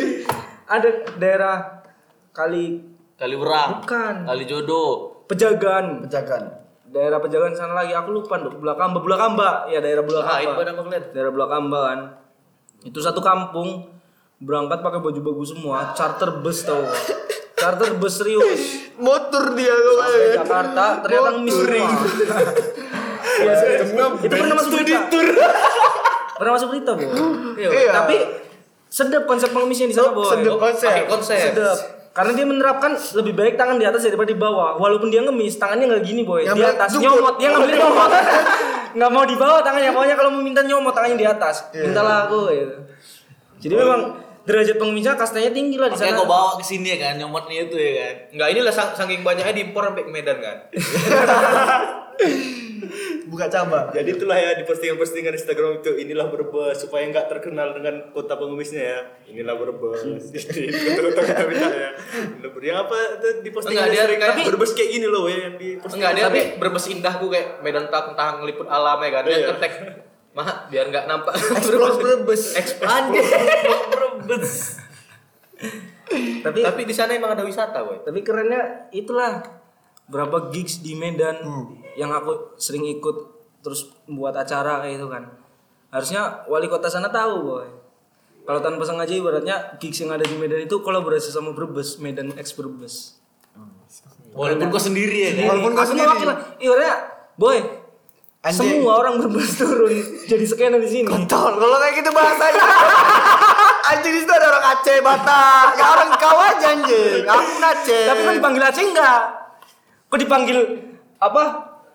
Speaker 1: Ada daerah kali
Speaker 3: Kali berang.
Speaker 1: Bukan.
Speaker 3: Kali jodoh.
Speaker 1: Pejagan.
Speaker 2: penjagaan
Speaker 1: daerah Pejagan sana lagi aku lupa Dok. Bulakamba Bulakamba ya daerah Bulakamba
Speaker 4: Lain pada kalian.
Speaker 1: daerah Bulakamba kan itu satu kampung berangkat pakai baju bagus semua charter bus tau gak? charter bus serius
Speaker 2: motor dia ya. kok
Speaker 1: sampai Jakarta ternyata ngemis semua Ya, itu pernah masuk berita pernah masuk berita bu
Speaker 2: Iya.
Speaker 1: tapi sedep konsep pengemisnya di sana boy
Speaker 2: sedep Oh, iya.
Speaker 4: Pakai
Speaker 2: konsep
Speaker 4: konsep.
Speaker 1: Sedep. Karena dia menerapkan lebih baik tangan di atas daripada di bawah. Walaupun dia ngemis, tangannya nggak gini boy. di
Speaker 2: Yang bener,
Speaker 1: atas
Speaker 2: jungkut.
Speaker 1: nyomot, dia ngambil nyomot. nggak mau di bawah tangannya, pokoknya kalau mau minta nyomot tangannya di atas. Mintalah aku. Gitu. Jadi memang derajat pengemisnya kastanya tinggi lah di
Speaker 3: Makanya
Speaker 1: sana.
Speaker 3: kau bawa ke sini ya kan, nyomotnya itu ya kan.
Speaker 4: Enggak, inilah sang- saking banyaknya diimpor sampai ke Medan kan.
Speaker 2: buka cabang
Speaker 5: Jadi itulah ya di postingan-postingan Instagram itu inilah Brebes supaya nggak terkenal dengan kota pengemisnya ya. Inilah Brebes. Ini kota-kota kita minta ya. Inilah Brebes. Yang apa itu di postingan
Speaker 4: Enggak, dia
Speaker 5: sering,
Speaker 4: kayak-
Speaker 5: tapi Brebes kayak gini loh ya yang di postingan.
Speaker 4: Enggak dia tapi berbes indahku kayak medan tak entah ngeliput alam ya kan. Dia
Speaker 5: Iya.
Speaker 4: ngetek mah biar nggak nampak.
Speaker 2: explore Brebes
Speaker 4: Anjir.
Speaker 1: tapi
Speaker 4: Tapi di sana emang ada wisata, boy.
Speaker 1: tapi kerennya itulah berapa gigs di Medan
Speaker 2: Hmm.
Speaker 1: yang aku sering ikut terus buat acara kayak itu kan harusnya wali kota sana tahu boy kalau tanpa sengaja ibaratnya gigs yang ada di Medan itu kolaborasi sama Brebes Medan X Brebes
Speaker 3: Walaupun kau sendiri ya kan.
Speaker 2: Walaupun gua
Speaker 1: Aku
Speaker 2: sendiri.
Speaker 1: mewakili. ibaratnya boy
Speaker 2: Anjing.
Speaker 1: semua orang Brebes turun jadi skena di sini
Speaker 2: kontol kalau kayak gitu bahasanya anjing itu ada orang Aceh Batak Gak orang kau aja anjing aku pun Aceh
Speaker 1: tapi kan kok dipanggil Aceh enggak kok dipanggil apa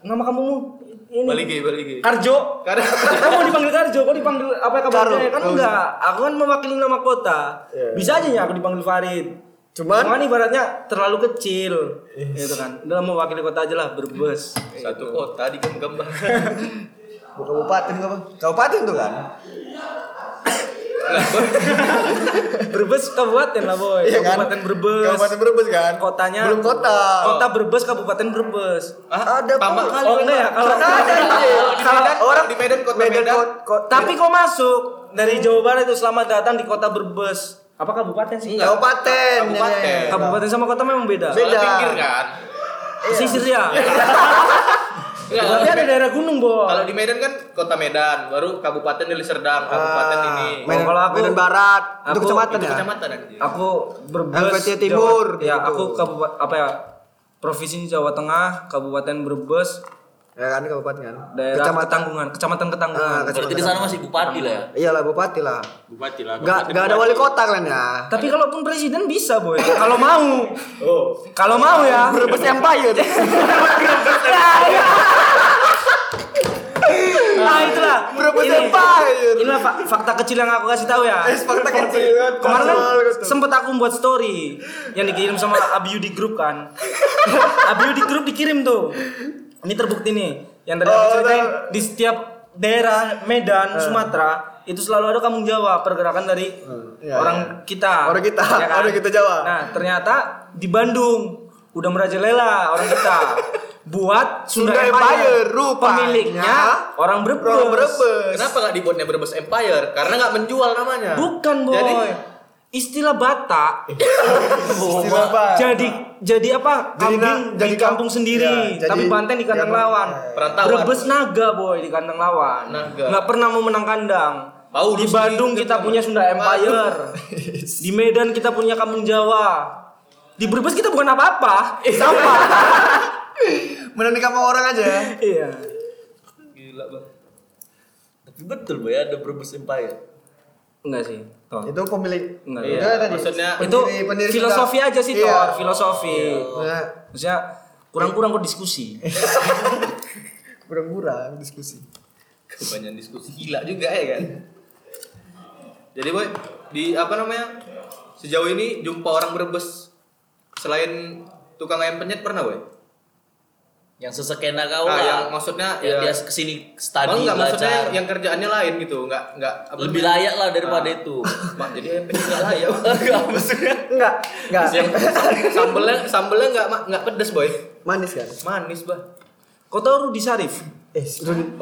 Speaker 1: nama kamu ini
Speaker 4: Balik lagi, balik lagi.
Speaker 1: Karjo. Karena kamu dipanggil Karjo, kau dipanggil apa kabarnya?
Speaker 2: Karo.
Speaker 1: Kan
Speaker 2: Oh,
Speaker 1: enggak. Aku kan mewakili nama kota. Bisa aja ya aku dipanggil Farid.
Speaker 2: Iya. Cuman? Iya.
Speaker 1: Cuman ibaratnya terlalu kecil. Gitu kan. Udah mewakili kota aja lah, Brebes.
Speaker 4: Satu kota di gembang.
Speaker 2: Bukan kabupaten kau Bang. kabupaten tuh kan
Speaker 1: Brebes kabupaten lah, Boy.
Speaker 2: Iya kan?
Speaker 1: kabupaten Brebes.
Speaker 2: kabupaten Brebes kan
Speaker 1: Kotanya
Speaker 2: belum kota Ah,
Speaker 1: Kota Brebes, Kabupaten Brebes.
Speaker 2: ada
Speaker 4: Tambah
Speaker 2: pula.
Speaker 1: Oh, enggak ya? Kalau
Speaker 2: Ada, ada, anjing.
Speaker 4: di
Speaker 2: Salah
Speaker 4: Medan-
Speaker 2: orang
Speaker 4: di Medan, kota Medan.
Speaker 2: kot- kot-
Speaker 1: tapi kau masuk dari Jawa Barat itu selamat datang di Kota Brebes. Apa kabupaten sih?
Speaker 4: Enggak.
Speaker 2: kabupaten ya.
Speaker 4: Kabupaten.
Speaker 2: Nenek.
Speaker 1: Kabupaten sama kota memang beda.
Speaker 2: Beda.
Speaker 4: Soalnya pinggir kan.
Speaker 1: Pesisir ya.
Speaker 2: Iya.
Speaker 4: Enggak, kalau
Speaker 1: Tapi
Speaker 4: di
Speaker 1: ada
Speaker 4: Medan-
Speaker 1: daerah gunung, Boy.
Speaker 4: Kalau di Medan kan kota Medan, baru kabupaten Deli Serdang, kabupaten
Speaker 2: Ah,
Speaker 4: ini.
Speaker 1: Medan-
Speaker 2: Medan, Medan Barat itu
Speaker 1: aku-
Speaker 2: kecamatan
Speaker 4: Itu
Speaker 2: ya
Speaker 4: kecamatan anjir.
Speaker 1: aku Brebes
Speaker 2: LPT Timur,
Speaker 1: Jawa- ya
Speaker 2: gitu.
Speaker 1: aku kabupaten apa ya provinsi Jawa Tengah kabupaten Brebes
Speaker 2: ya kan kabupaten kan
Speaker 1: daerah Ketanggungan kecamatan Ketanggungan
Speaker 2: Ah, kecamatan.
Speaker 3: Berarti di sana masih bupati lah ya.
Speaker 2: iyalah bupati lah
Speaker 3: Bupati lah.
Speaker 2: nggak nggak ada wali kota kalian ya
Speaker 1: tapi kalaupun presiden bisa boy kalau mau kalau mau ya
Speaker 2: Oh. Brebes Empire
Speaker 1: nah itulah
Speaker 2: Brebes
Speaker 1: Ini-
Speaker 2: Empire.
Speaker 1: inilah fa- fakta kecil yang aku kasih tahu ya
Speaker 2: fakta kecil kan
Speaker 1: kemarin kan sempet aku buat story yang dikirim sama Abiu di grup kan Abiu di grup dikirim tuh ini terbukti nih yang tadi aku
Speaker 2: Oh,
Speaker 1: ceritain
Speaker 2: tahu. Eh.
Speaker 1: di setiap daerah Medan Sumatera itu selalu ada kampung Jawa pergerakan dari
Speaker 2: iya,
Speaker 1: orang
Speaker 2: iya.
Speaker 1: kita
Speaker 2: Orang kita, orang kita Jawa.
Speaker 1: nah ternyata di Bandung udah merajalela orang kita buat Sunda,
Speaker 2: Sunda Empire, rupanya
Speaker 1: pemiliknya orang Brebes.
Speaker 2: Orang Brebes
Speaker 4: Kenapa nggak dibuatnya Brebes Empire? Karena nggak menjual namanya.
Speaker 1: Bukan boy.
Speaker 4: Jadi
Speaker 1: istilah Batak
Speaker 2: Istilah apa?
Speaker 1: jadi jadi apa
Speaker 2: Nah. Jadi na-
Speaker 1: kambing
Speaker 2: jadi
Speaker 1: di kampung
Speaker 2: kamp-
Speaker 1: sendiri
Speaker 2: ya, jadi-
Speaker 1: tapi banteng di kandang
Speaker 2: ya,
Speaker 1: lawan
Speaker 4: perantauan.
Speaker 1: Brebes naga boy di kandang lawan
Speaker 4: Naga.
Speaker 1: nggak pernah mau menang kandang
Speaker 4: Paulus
Speaker 1: di Bandung
Speaker 4: gitu
Speaker 1: kita
Speaker 4: kan.
Speaker 1: punya Sunda Empire di Medan kita punya kampung Jawa di Brebes kita bukan apa-apa
Speaker 2: sampah menarik sama orang aja ya.
Speaker 1: iya
Speaker 3: Gila bang. Tapi betul boy ada Brebes Empire.
Speaker 1: enggak sih Tor.
Speaker 2: itu pemilik
Speaker 1: Enggak,
Speaker 2: Itu
Speaker 1: iya.
Speaker 2: tadi.
Speaker 4: Maksudnya
Speaker 1: itu
Speaker 2: Pendiri- pendiri
Speaker 1: filosofi
Speaker 2: Sunda.
Speaker 1: aja sih
Speaker 2: Iya.
Speaker 1: Tor filosofi
Speaker 2: Nah,
Speaker 1: maksudnya kurang-kurang kok diskusi
Speaker 2: kurang-kurang diskusi
Speaker 4: kebanyakan diskusi gila juga ya kan. Jadi boy di apa namanya sejauh ini jumpa orang Brebes selain tukang ayam penyet pernah boy?
Speaker 3: Yang sesekena kau
Speaker 4: Nah,
Speaker 3: lah.
Speaker 4: yang maksudnya
Speaker 3: yang
Speaker 4: ya-
Speaker 3: dia kesini
Speaker 4: Tadi
Speaker 3: study
Speaker 4: nggak
Speaker 3: lah.
Speaker 4: maksudnya yang,
Speaker 3: Car.
Speaker 4: yang kerjaannya lain gitu, nggak nggak apa
Speaker 3: lebih
Speaker 4: namanya?
Speaker 3: layak lah daripada
Speaker 4: Ah.
Speaker 3: itu.
Speaker 4: Mak, jadi ayam penyet nggak
Speaker 3: ya.
Speaker 4: layak.
Speaker 3: Enggak maksudnya.
Speaker 2: enggak enggak
Speaker 4: yang sambelnya sambelnya nggak ma- nggak pedes boy,
Speaker 2: manis kan
Speaker 4: manis bah.
Speaker 1: Kau tahu Rudi Sarif?
Speaker 2: eh Rudi-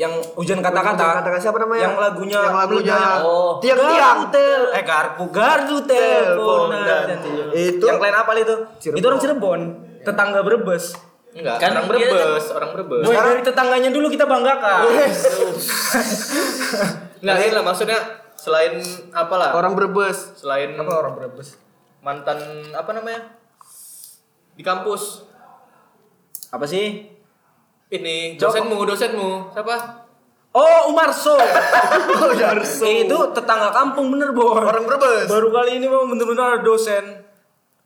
Speaker 1: Yang hujan kata-kata.
Speaker 2: Kata-kata siapa namanya?
Speaker 1: Yang lagunya
Speaker 2: Yang lagunya
Speaker 1: meledak.
Speaker 3: Oh.
Speaker 2: Tiang-tiang.
Speaker 1: Gardu tel, eh garpu gardu telepon.
Speaker 2: Teleponan. Itu-
Speaker 1: yang lain apa itu?
Speaker 2: Cirebon.
Speaker 1: Itu orang Cirebon, tetangga Brebes.
Speaker 4: Enggak,
Speaker 3: Kan dia
Speaker 4: orang
Speaker 3: kan-
Speaker 4: Brebes, orang Brebes.
Speaker 1: Boy, dari tetangganya dulu kita banggakan.
Speaker 4: Nggak, ini lah maksudnya selain apalah?
Speaker 2: orang Brebes
Speaker 4: selain
Speaker 2: apa orang Brebes
Speaker 4: mantan apa namanya di kampus
Speaker 1: Apa sih?
Speaker 4: ini
Speaker 1: Joko.
Speaker 4: dosenmu dosenmu siapa
Speaker 1: Oh, Umarso. Umarso. itu tetangga kampung bener, Boy.
Speaker 2: orang Brebes
Speaker 1: Baru kali ini memang bener-bener ada dosen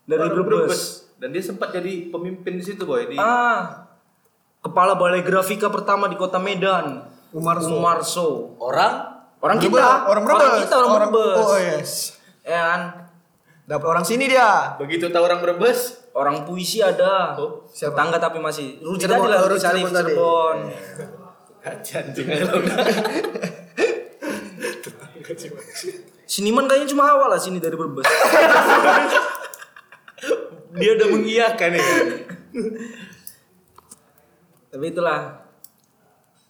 Speaker 1: dari
Speaker 4: Orang
Speaker 1: Brebes.
Speaker 4: dan dia sempat jadi pemimpin di situ boy di
Speaker 1: Ah. Kepala Balai Grafika pertama di Kota Medan.
Speaker 2: Umarso.
Speaker 1: Umarso.
Speaker 3: Orang
Speaker 1: Orang
Speaker 2: Brebes,
Speaker 1: kita,
Speaker 2: orang Brebes
Speaker 1: kita orang, Brebes.
Speaker 2: oh yes
Speaker 1: Ya kan?
Speaker 2: dapat orang sini dia
Speaker 4: begitu tahu orang Brebes
Speaker 1: orang puisi ada
Speaker 4: Oh,
Speaker 2: siapa?
Speaker 1: tetangga tapi masih Rudi
Speaker 2: Cirebon,
Speaker 1: tadi lah
Speaker 2: oh,
Speaker 1: Rudi
Speaker 2: Rudi
Speaker 1: Sarif
Speaker 2: Cirebon tadi. Iya.
Speaker 1: Cirebon seniman kayaknya cuma awal lah sini dari Brebes
Speaker 3: Dia udah mengiyakan ya.
Speaker 1: tapi itulah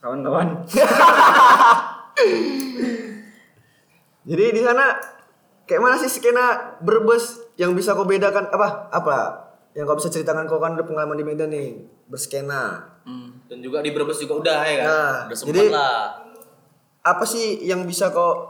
Speaker 1: kawan-kawan
Speaker 2: Jadi di sana kayak mana sih skena Brebes yang bisa kau bedakan apa apa yang kau bisa ceritakan kau kan udah pengalaman di Medan nih berskena.
Speaker 4: Dan juga di Brebes juga udah ya kan.
Speaker 2: Nah,
Speaker 3: Udah sempat
Speaker 2: jadi
Speaker 3: lah.
Speaker 2: apa sih yang bisa kau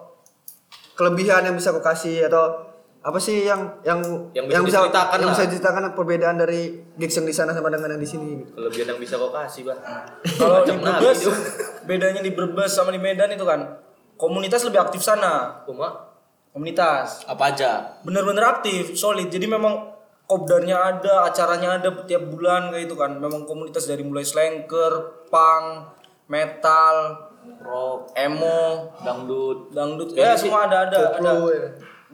Speaker 2: kelebihan yang bisa kau kasih atau apa sih yang yang
Speaker 4: Yang bisa diceritakan
Speaker 2: yang
Speaker 4: lah.
Speaker 2: bisa diceritakan perbedaan dari gigs yang di sana sama dengan yang di sini?
Speaker 4: Kelebihan yang bisa kau kasih, Bah.
Speaker 1: kalau di
Speaker 4: Macam nabi
Speaker 1: Brebes
Speaker 4: dia.
Speaker 1: bedanya di Brebes sama di Medan itu kan komunitas lebih aktif sana
Speaker 4: Cuma
Speaker 1: komunitas
Speaker 3: Apa aja?
Speaker 1: bener-bener aktif solid jadi memang kopdarnya ada acaranya ada tiap bulan kayak itu kan memang komunitas dari mulai slanker punk metal
Speaker 3: Rock,
Speaker 1: emo
Speaker 3: dangdut,
Speaker 1: dangdut ya semua ada ada ada
Speaker 2: Koplo, ya.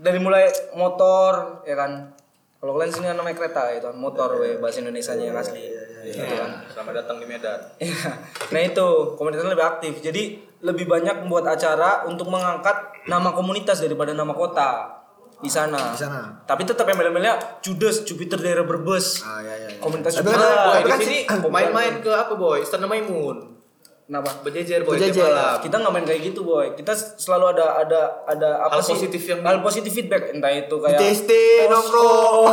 Speaker 1: dari mulai motor ya kan kalau kalian sini kan namanya kereta ya itu kan motor we, bahasa Indonesia nya yang asli Gitu kan.
Speaker 4: Ya, selamat datang di Medan.
Speaker 1: Iya. nah itu komunitasnya lebih aktif jadi lebih banyak membuat acara untuk mengangkat nama komunitas daripada nama kota di sana.
Speaker 2: Di sana.
Speaker 1: Tapi tetap yang melelnya Judes, Jupiter daerah Brebes.
Speaker 2: Ah ya ya. ya.
Speaker 1: Komunitas
Speaker 2: Tapi kan-
Speaker 1: Jupiter.
Speaker 2: tapi
Speaker 4: Boy, di
Speaker 2: kan
Speaker 4: sini
Speaker 2: si-
Speaker 4: main-main ke apa, Boy? Istana Maimun.
Speaker 1: Kenapa?
Speaker 4: Berjejer, Boy. tiap
Speaker 2: Berjejer.
Speaker 4: malam.
Speaker 1: Nah, Kita nggak main kayak gitu, boy. Kita selalu ada ada ada apa
Speaker 4: Hal
Speaker 1: sih?
Speaker 4: positif yang-
Speaker 1: hal positif feedback entah itu kayak
Speaker 2: TST,
Speaker 1: posko-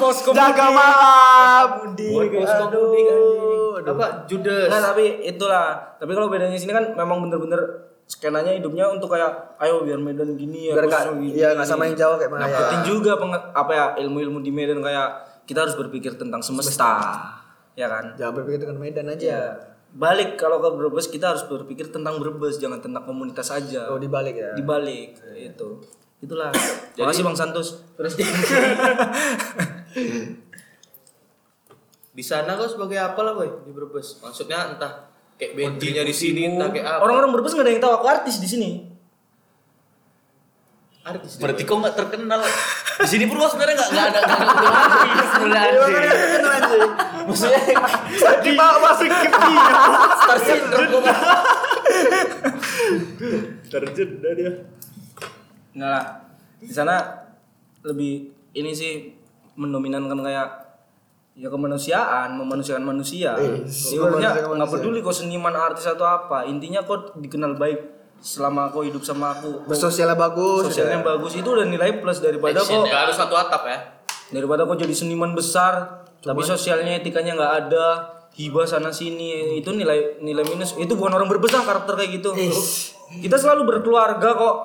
Speaker 1: posko
Speaker 2: Jaga
Speaker 1: mudik.
Speaker 2: malam.
Speaker 1: Boy,
Speaker 4: Posko
Speaker 1: aduh.
Speaker 4: mudik, anjing. Apa? Judes.
Speaker 1: Nah, tapi itulah. Tapi kalau bedanya sini kan memang bener-bener skenanya hidupnya untuk kayak ayo biar Medan gini ya.
Speaker 2: Biar
Speaker 1: gua
Speaker 2: nggak-
Speaker 1: suruh gini.
Speaker 2: iya, nggak sama yang Jawa kayak mana ya.
Speaker 1: Dapetin juga penge- apa ya ilmu-ilmu di Medan kayak kita harus berpikir tentang semesta. Ya kan?
Speaker 2: Jangan berpikir dengan Medan aja.
Speaker 1: Ya. Balik kalau ke Brebes kita harus berpikir tentang Brebes jangan tentang komunitas aja.
Speaker 2: Oh dibalik ya.
Speaker 1: Dibalik itu. Itulah. Makasih Bang Santos. Terus
Speaker 4: Di sana kau sebagai apa lah, Boy? Di Brebes. Maksudnya entah kayak benjinya di sini, entah kayak apa.
Speaker 1: orang-orang Brebes nggak ada yang tahu aku artis di sini.
Speaker 4: artis. dia,
Speaker 3: Berarti kok nggak terkenal. Di sini pun kok sebenarnya nggak nggak ada nggak ada kebetulan sih, sebenarnya. Maksudnya
Speaker 2: Dibawa masuk ke
Speaker 3: star syndrome kok, Mas.
Speaker 5: terjeda dia
Speaker 1: Enggak lah. Di sana lebih ini sih mendominankan kayak ya kemanusiaan, memanusiakan manusia.
Speaker 2: Eh,
Speaker 1: Sebenarnya
Speaker 2: memanusiakan
Speaker 1: nggak
Speaker 2: manusia.
Speaker 1: peduli kau seniman, artis atau apa, intinya kau dikenal baik selama kau hidup sama aku. Kau-
Speaker 2: Sosialnya bagus.
Speaker 1: Sosialnya bagus itu udah nilai plus daripada
Speaker 3: Action,
Speaker 1: kau
Speaker 4: Nggak harus satu atap ya.
Speaker 1: daripada kau jadi seniman besar tapi sosialnya etikanya nggak ada hibah sana sini itu nilai nilai minus itu bukan orang berbesar karakter kayak gitu kita selalu berkeluarga kok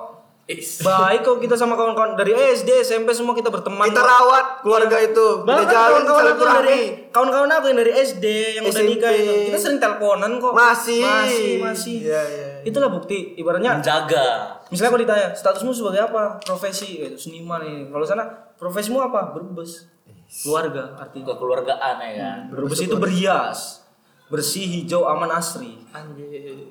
Speaker 1: baik kok kita sama kawan-kawan dari SD SMP semua kita berteman
Speaker 2: Kita
Speaker 1: kok.
Speaker 2: rawat keluarga itu. Kita
Speaker 1: Bahkan
Speaker 2: jalin
Speaker 1: kawan-kawan aku yang
Speaker 2: silaturahmi.
Speaker 1: dari kawan-kawan aku yang dari SD yang udah
Speaker 2: SMP.
Speaker 1: nikah itu kita sering teleponan kok
Speaker 2: Masih.
Speaker 1: masih masih
Speaker 2: Iya, iya, iya.
Speaker 1: itulah bukti ibaratnya
Speaker 3: menjaga.
Speaker 1: misalnya kalau ditanya statusmu sebagai apa profesi eh, seniman ini kalau sana profesimu apa berbes keluarga artinya
Speaker 3: Kekeluargaan ya kan.
Speaker 1: Brebes itu berhias, bersih, hijau, aman, asri.
Speaker 4: Anjir.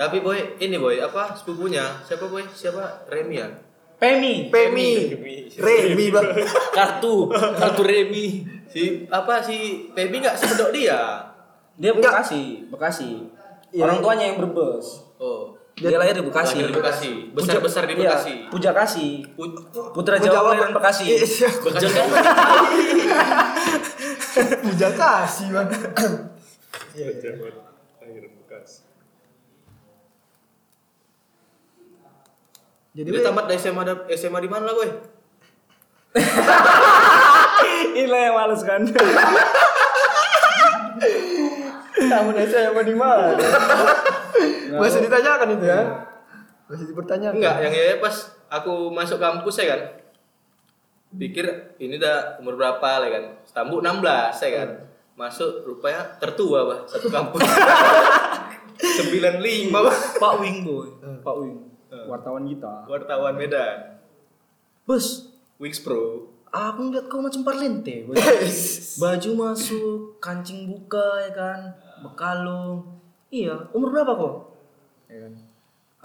Speaker 4: Tapi boy, ini boy apa sepupunya? Siapa boy? Siapa? Remy ya?
Speaker 1: Pemi.
Speaker 2: Pemi. Remi bang.
Speaker 3: Kartu, kartu remi.
Speaker 4: Si apa si Pebi nggak sepedok dia?
Speaker 1: Dia
Speaker 2: Enggak.
Speaker 1: Bekasi, Bekasi.
Speaker 2: Iya.
Speaker 1: Orang tuanya yang Brebes.
Speaker 4: Oh,
Speaker 1: Dia lahir di Bekasi.
Speaker 4: lahir di Bekasi. Besar-besar di
Speaker 1: Iya,
Speaker 4: Bekasi.
Speaker 1: Puja Kasi.
Speaker 4: Pu-
Speaker 1: Putra Jawa kelahiran Bekasi.
Speaker 2: Iya,
Speaker 3: Kerja kan?
Speaker 2: Puja kasih bang. Iya,
Speaker 5: pejabat akhir bekas
Speaker 2: Jadi
Speaker 4: Dia tamat dari SMA da- SMA di mana lah boy?
Speaker 1: Inilah yang males kan.
Speaker 2: tamu desa yang mau di mana? Masih ditanyakan itu ya? Masih dipertanyakan.
Speaker 4: Enggak, yang ya pas aku masuk kampus ya kan. Pikir ini udah umur berapa lah ya kan? Tambu 16 ya kan. Masuk rupanya tertua bah satu kampus. 95 bah.
Speaker 1: Pak Wing Eh. boy. Pak Wing. Wartawan kita.
Speaker 4: Wartawan Medan.
Speaker 1: Bos,
Speaker 4: Wings Pro.
Speaker 1: aku ngeliat kau macam parlente. Bos. Baju masuk, kancing buka ya kan, bekalung. Iya, umur berapa kok? Ya kan.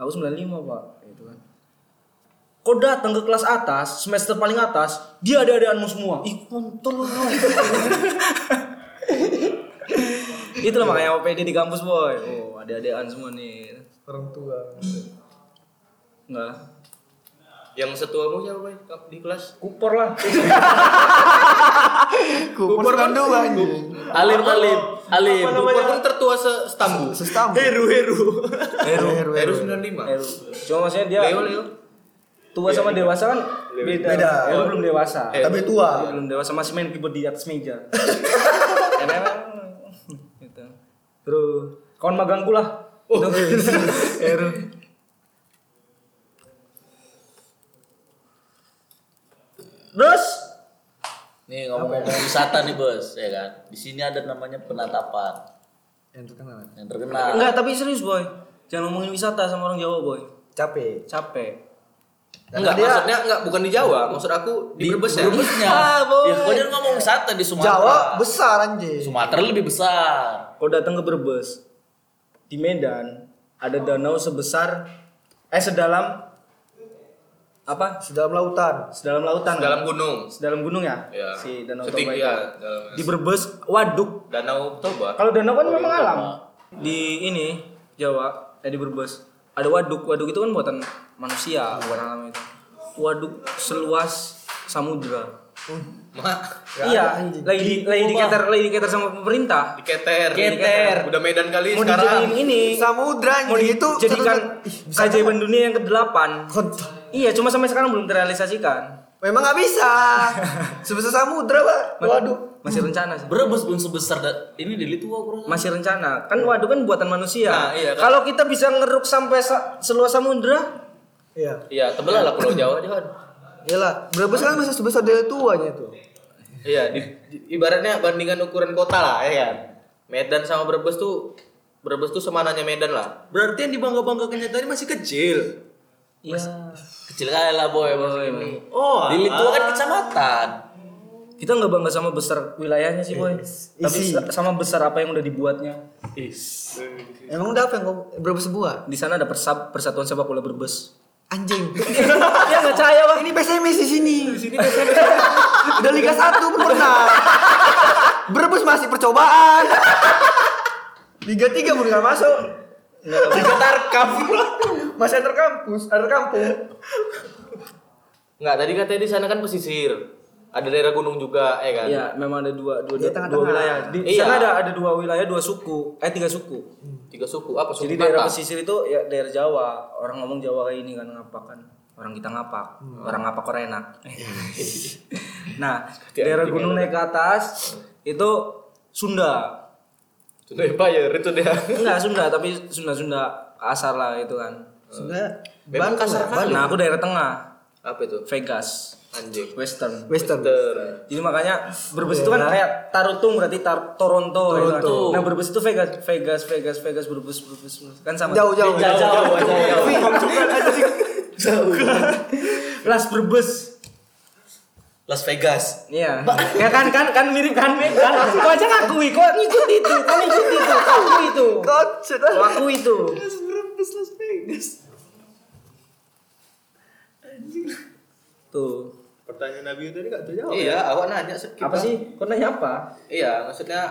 Speaker 1: Aku 95, Pak. Ya, Itu kan. Gitu Kau datang ke kelas atas, semester paling atas, dia ada adaanmu semua. Ih, kontol. lu. Itulah makanya OPD di kampus, boy. Oh, ada adaan semua nih.
Speaker 2: orang tua
Speaker 1: Enggak.
Speaker 4: Yang setuamu siapa, Boy? Di kelas?
Speaker 1: Kupor lah.
Speaker 6: Kupur kan dua anjing.
Speaker 3: Alim, alim, alim.
Speaker 4: Kupor pun kan tertua se Stambu.
Speaker 6: Sestambu.
Speaker 1: Heru.
Speaker 6: Heru,
Speaker 4: Heru
Speaker 6: heru.
Speaker 4: 95.
Speaker 1: Heru. Cuma maksudnya dia
Speaker 4: Leo, Leo.
Speaker 1: tua sama dewasa kan beda. Eh,
Speaker 2: Beda.
Speaker 1: Heru belum dewasa.
Speaker 6: Tapi tua.
Speaker 1: Dia belum dewasa masih main keyboard di atas meja. Emang gitu. Terus kawan magangku lah. Iya, Oh. Heru. Terus
Speaker 3: Nih ngomong-ngomong wisata nih bos, ya kan. Di sini ada namanya penatapan
Speaker 2: yang terkenal
Speaker 3: yang terkenal.
Speaker 1: enggak tapi serius boy. Jangan ngomongin wisata sama orang Jawa boy.
Speaker 2: capek
Speaker 1: Capek.
Speaker 4: Enggak,
Speaker 2: dia-
Speaker 4: maksudnya enggak bukan di Jawa, maksud aku di, Brebes ya.
Speaker 3: Brebesnya.
Speaker 1: Ah, boy.
Speaker 3: Ya, kau jangan ngomong wisata di Sumatera.
Speaker 6: Jawa besar anjing.
Speaker 3: Sumatera lebih besar.
Speaker 1: Kau datang ke Brebes di Medan ada danau sebesar eh sedalam apa?
Speaker 2: sedalam lautan
Speaker 1: Sedalam lautan. kan?
Speaker 4: Dalam gunung.
Speaker 1: sedalam gunung ya?
Speaker 4: Ya.
Speaker 1: Si Danau Toba itu.
Speaker 4: Setinggi ya. dalam-
Speaker 1: Di Brebes waduk.
Speaker 4: Danau Toba.
Speaker 1: Kalau danau kan memang alam. Di ini Jawa, eh di Brebes ada waduk. Waduk itu kan buatan manusia, bukan alam itu. Waduk seluas samudra.
Speaker 4: Mak,
Speaker 1: iya, lagi di, lagi diketer lagi diketer sama pemerintah.
Speaker 4: diketer.
Speaker 1: Diketer.
Speaker 4: Udah Medan kali
Speaker 1: Mau dijadiin
Speaker 4: sekarang.
Speaker 1: ini.
Speaker 6: Samudra
Speaker 1: Mau
Speaker 6: anjing itu
Speaker 1: dijadikan keajaiban dunia yang ke-8.
Speaker 6: Kontol.
Speaker 1: Iya, cuma sampai sekarang belum terrealisasikan.
Speaker 6: Memang nggak bisa. Sebesar samudra, Pak. Waduh.
Speaker 1: Masih rencana sih.
Speaker 3: Brebes belum sebesar da- ini di Litua bro.
Speaker 1: masih rencana kan waduk kan buatan manusia
Speaker 4: Nah, iya, kan.
Speaker 1: kalau kita bisa ngeruk sampai sa- seluas samudra
Speaker 2: iya
Speaker 4: Iya, tebelah lah Pulau Jawa aja kan.
Speaker 2: iyalah berapa
Speaker 6: kan
Speaker 2: sekarang masih sebesar dari tuanya itu
Speaker 4: Iya, di, di- ibaratnya bandingan ukuran kota lah ya kan. Medan sama Brebes tuh Brebes tuh semananya Medan lah.
Speaker 5: Berarti yang dibangga-banggakannya tadi masih kecil.
Speaker 1: ya
Speaker 3: Kecil kali lah boy. boy.
Speaker 5: Oh,
Speaker 3: Di Litua kan kecamatan.
Speaker 1: kita nggak bangga sama besar wilayahnya sih boy tapi sa- sama besar apa yang udah dibuatnya
Speaker 6: Emang udah apa yang kau berapa sebuah?
Speaker 1: di sana ada persab persatuan sepak bola berbes
Speaker 6: Anjing.
Speaker 1: ya nggak percaya bang
Speaker 6: Ini PSMS di sini. Udah Liga 1 belum pernah. Berebus masih percobaan. Liga 3 baru nggak masuk.
Speaker 4: Di Tarkam.
Speaker 6: Masih antar kampus, antar kampung.
Speaker 4: Enggak, tadi katanya di sana kan pesisir. Ada daerah gunung juga ya kan.
Speaker 1: ya memang ada dua dua
Speaker 6: Di
Speaker 1: dua,
Speaker 6: tengah-tengah.
Speaker 1: dua wilayah di
Speaker 4: Iya.
Speaker 1: sana ada ada dua wilayah dua suku eh tiga suku
Speaker 4: Tiga suku apa suku
Speaker 1: jadi daerah
Speaker 4: Batak?
Speaker 1: pesisir itu ya daerah Jawa orang ngomong Jawa kayak ini kan ngapak kan orang kita ngapak orang ngapak orang enak nah daerah gunung naik ke atas itu Sunda Iya.
Speaker 4: Sudah ya, Pak, ya, itu dia.
Speaker 1: enggak Sunda tapi Sunda Sunda kasar lah itu kan
Speaker 2: sebenarnya
Speaker 4: Memang kasar kali.
Speaker 1: nah aku daerah tengah
Speaker 4: Apa itu?
Speaker 1: Vegas
Speaker 4: Anjing.
Speaker 1: Western
Speaker 2: western
Speaker 4: Ter.
Speaker 1: jadi makanya Brebes itu kan kayak Tarutung berarti tar Toronto, gitu kan. nah Brebes itu Vegas Vegas Vegas Vegas Brebes Brebes Brebes. kan sama
Speaker 6: Jauh jauh.
Speaker 3: Jauh jauh jauh.
Speaker 1: Las Brebes
Speaker 3: Las Vegas.
Speaker 1: Iya. Ya kan kan kan mirip kan mirip kan. Kau aja ngakui, kau ngikut itu, kau ngikut itu, kau ngaku itu.
Speaker 6: Kocet.
Speaker 1: Kau ngaku itu. Tuh.
Speaker 5: Pertanyaan Nabi tadi gak terjawab.
Speaker 4: Iya, awak nanya se- kita.
Speaker 1: Apa sih? Kau nanya apa?
Speaker 4: Iya, maksudnya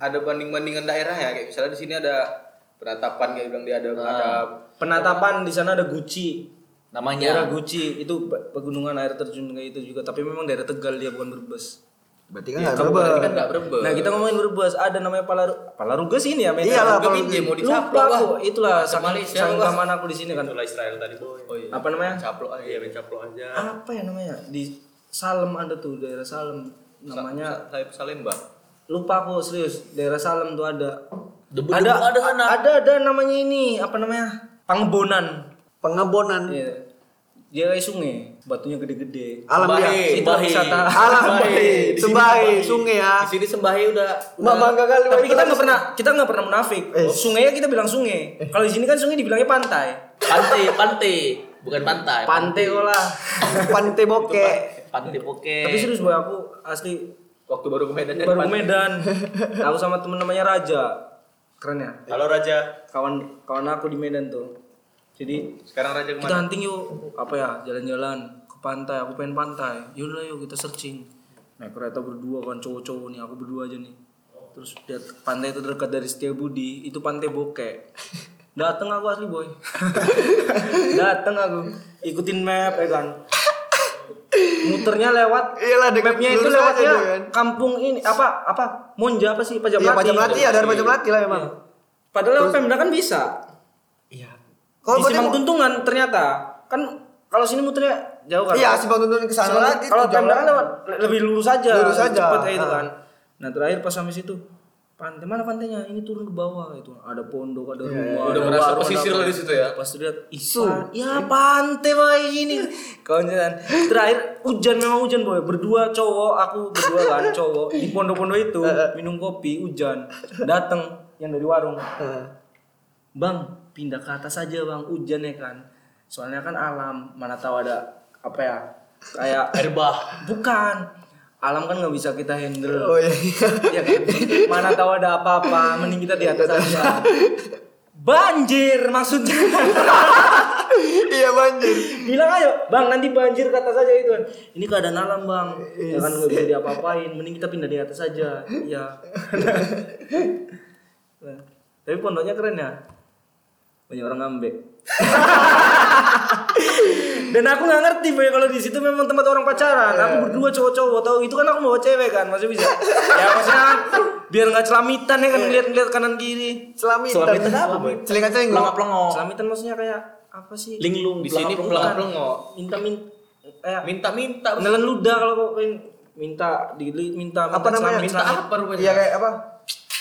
Speaker 4: ada banding-bandingan daerah ya kayak misalnya di sini ada penatapan kayak bilang dia ada
Speaker 1: Nah.
Speaker 4: ada
Speaker 1: Penatapan di sana ada Gucci. Daerah
Speaker 3: Namanya.
Speaker 1: Gucci itu pe- pegunungan air terjun kayak itu juga, tapi memang daerah Tegal dia bukan Brebes.
Speaker 6: Berarti kan
Speaker 2: Iya,
Speaker 6: nggak
Speaker 4: Berarti kan
Speaker 6: berapa.
Speaker 4: enggak Brebes.
Speaker 1: Nah, kita ngomongin Brebes, ada namanya Palaru Palaruga sih ini ya, Medan.
Speaker 6: Iyalah,
Speaker 4: Tapi dia mau dicaplok
Speaker 1: Lupa
Speaker 4: lah.
Speaker 1: aku, itulah
Speaker 4: Sama
Speaker 1: saking
Speaker 4: Malaysia,
Speaker 1: saking
Speaker 4: Bang.
Speaker 1: keamanan aku di sini kan.
Speaker 5: Itulah Israel tadi boy. Oh
Speaker 1: Apa namanya?
Speaker 4: Caplok aja.
Speaker 5: iya, mencaplok aja.
Speaker 1: apa ya namanya di Salem ada tuh daerah Salem namanya
Speaker 4: saya Salemba.
Speaker 1: lupa aku serius daerah Salem tuh ada
Speaker 3: Debu-debu
Speaker 1: ada
Speaker 3: ada
Speaker 1: a-
Speaker 3: anak.
Speaker 1: ada ada namanya ini apa namanya Pangebonan
Speaker 6: Pengebonan.
Speaker 1: Iya. dia kayak sungai batunya gede-gede
Speaker 6: Alam dia.
Speaker 2: ya?
Speaker 4: Sembahe,
Speaker 1: Situ
Speaker 4: Sembahe.
Speaker 1: wisata.
Speaker 6: Alam
Speaker 4: Sembahe. Di
Speaker 6: Sembahe,
Speaker 4: sini Sembahe.
Speaker 6: sungai ya.
Speaker 4: Di sini sembahi udah
Speaker 6: Mak
Speaker 3: Iya.
Speaker 6: bangga kali. Pak.
Speaker 1: tapi kita nggak pernah kita nggak pernah munafik
Speaker 6: Eh.
Speaker 1: sungainya kita bilang sungai kalau di sini kan sungai dibilangnya pantai
Speaker 3: Pantai, pantai. Bukan pantai.
Speaker 1: pantai kok lah
Speaker 6: Pantai bokeh.
Speaker 3: Pantai Poke.
Speaker 1: Eh. tapi serius boy aku asli
Speaker 4: waktu baru ke Medan
Speaker 1: baru ke Medan aku sama temen namanya Raja keren ya
Speaker 5: Halo Raja.
Speaker 1: kawan kawan aku di Medan tuh Jadi
Speaker 4: Sekarang Raja
Speaker 1: kita
Speaker 4: kemana?
Speaker 1: hunting yuk apa ya jalan-jalan ke pantai aku pengen pantai yaudah yuk kita searching naik kereta berdua kan cowok-cowok nih aku berdua aja nih terus lihat pantai terdekat dari Setiabudi itu pantai bokek dateng aku asli boy dateng aku ikutin map ya kan muternya lewat
Speaker 2: Iyalah, deket
Speaker 1: mapnya itu
Speaker 2: lurus aja
Speaker 1: lewatnya
Speaker 2: tuh kan.
Speaker 1: kampung ini apa apa Monja apa sih Pajak
Speaker 2: Iya, pajak melati ya, dari pajak melati lah memang.
Speaker 1: Padahal Pemda kan bisa. Iya. Kalau
Speaker 2: Kalau
Speaker 1: di
Speaker 2: berarti
Speaker 1: Simpang
Speaker 2: mau-
Speaker 1: Tuntungan ternyata kan kalau sini muternya jauh kan.
Speaker 2: Iya, si Bang Tuntun ke sana
Speaker 1: Kalau-
Speaker 2: lagi.
Speaker 1: Kalau
Speaker 2: tujuan
Speaker 1: Pemda kan lewat le- lebih lurus aja.
Speaker 2: Lurus aja.
Speaker 1: Cepat kayak itu
Speaker 2: Ah.
Speaker 1: kan. Nah, terakhir pas sampai situ pantai mana pantainya ini turun ke bawah itu ada pondok
Speaker 2: Iya,
Speaker 1: ada rumah
Speaker 4: Udah
Speaker 1: ada
Speaker 4: merasa
Speaker 1: warung, ada
Speaker 4: pesisir
Speaker 1: apa.
Speaker 4: lah di situ ya?
Speaker 1: pas lihat isu ya pantai boy ini kawan-kawan terakhir hujan memang hujan boy berdua cowok aku berdua kan cowok di pondok-pondok itu minum kopi hujan dateng yang dari warung
Speaker 2: Heeh.
Speaker 1: Bang, pindah ke atas aja bang, hujan ya kan. Soalnya kan alam, mana tahu ada apa ya, kayak air bah. Bukan, alam kan nggak bisa kita handle.
Speaker 2: Oh iya.
Speaker 1: Ya kan? Mana tahu ada apa-apa, mending kita di atas aja. Banjir maksudnya.
Speaker 2: Iya banjir.
Speaker 1: Bilang ayo, bang nanti banjir ke atas aja itu kan. Ini keadaan alam bang, ya kan nggak bisa diapa-apain, mending kita pindah di atas aja. Iya. Nah, Tapi pondoknya keren ya. Banyak orang ngambek. Dan aku nggak ngerti boy kalau di situ memang tempat orang pacaran. Aku berdua cowok-cowok tahu itu kan aku bawa cewek kan, maksudnya bisa. ya maksudnya kan, biar nggak celamitan ya kan ngeliat-ngeliat kanan kiri.
Speaker 2: Selamitan.
Speaker 1: Selamitan apa, Boy?
Speaker 2: Celingan celing.
Speaker 1: Celamitan maksudnya kayak apa sih?
Speaker 3: Linglung
Speaker 4: Di sini pulang nggak?
Speaker 1: minta minta kayak
Speaker 4: Minta-minta.
Speaker 1: nelen ludah kalau kau pengen minta di minta minta
Speaker 2: Apa Iya, namanya?
Speaker 1: celamit,
Speaker 2: Minta
Speaker 1: celamit.
Speaker 4: Apa rupanya?
Speaker 2: Iya kayak apa?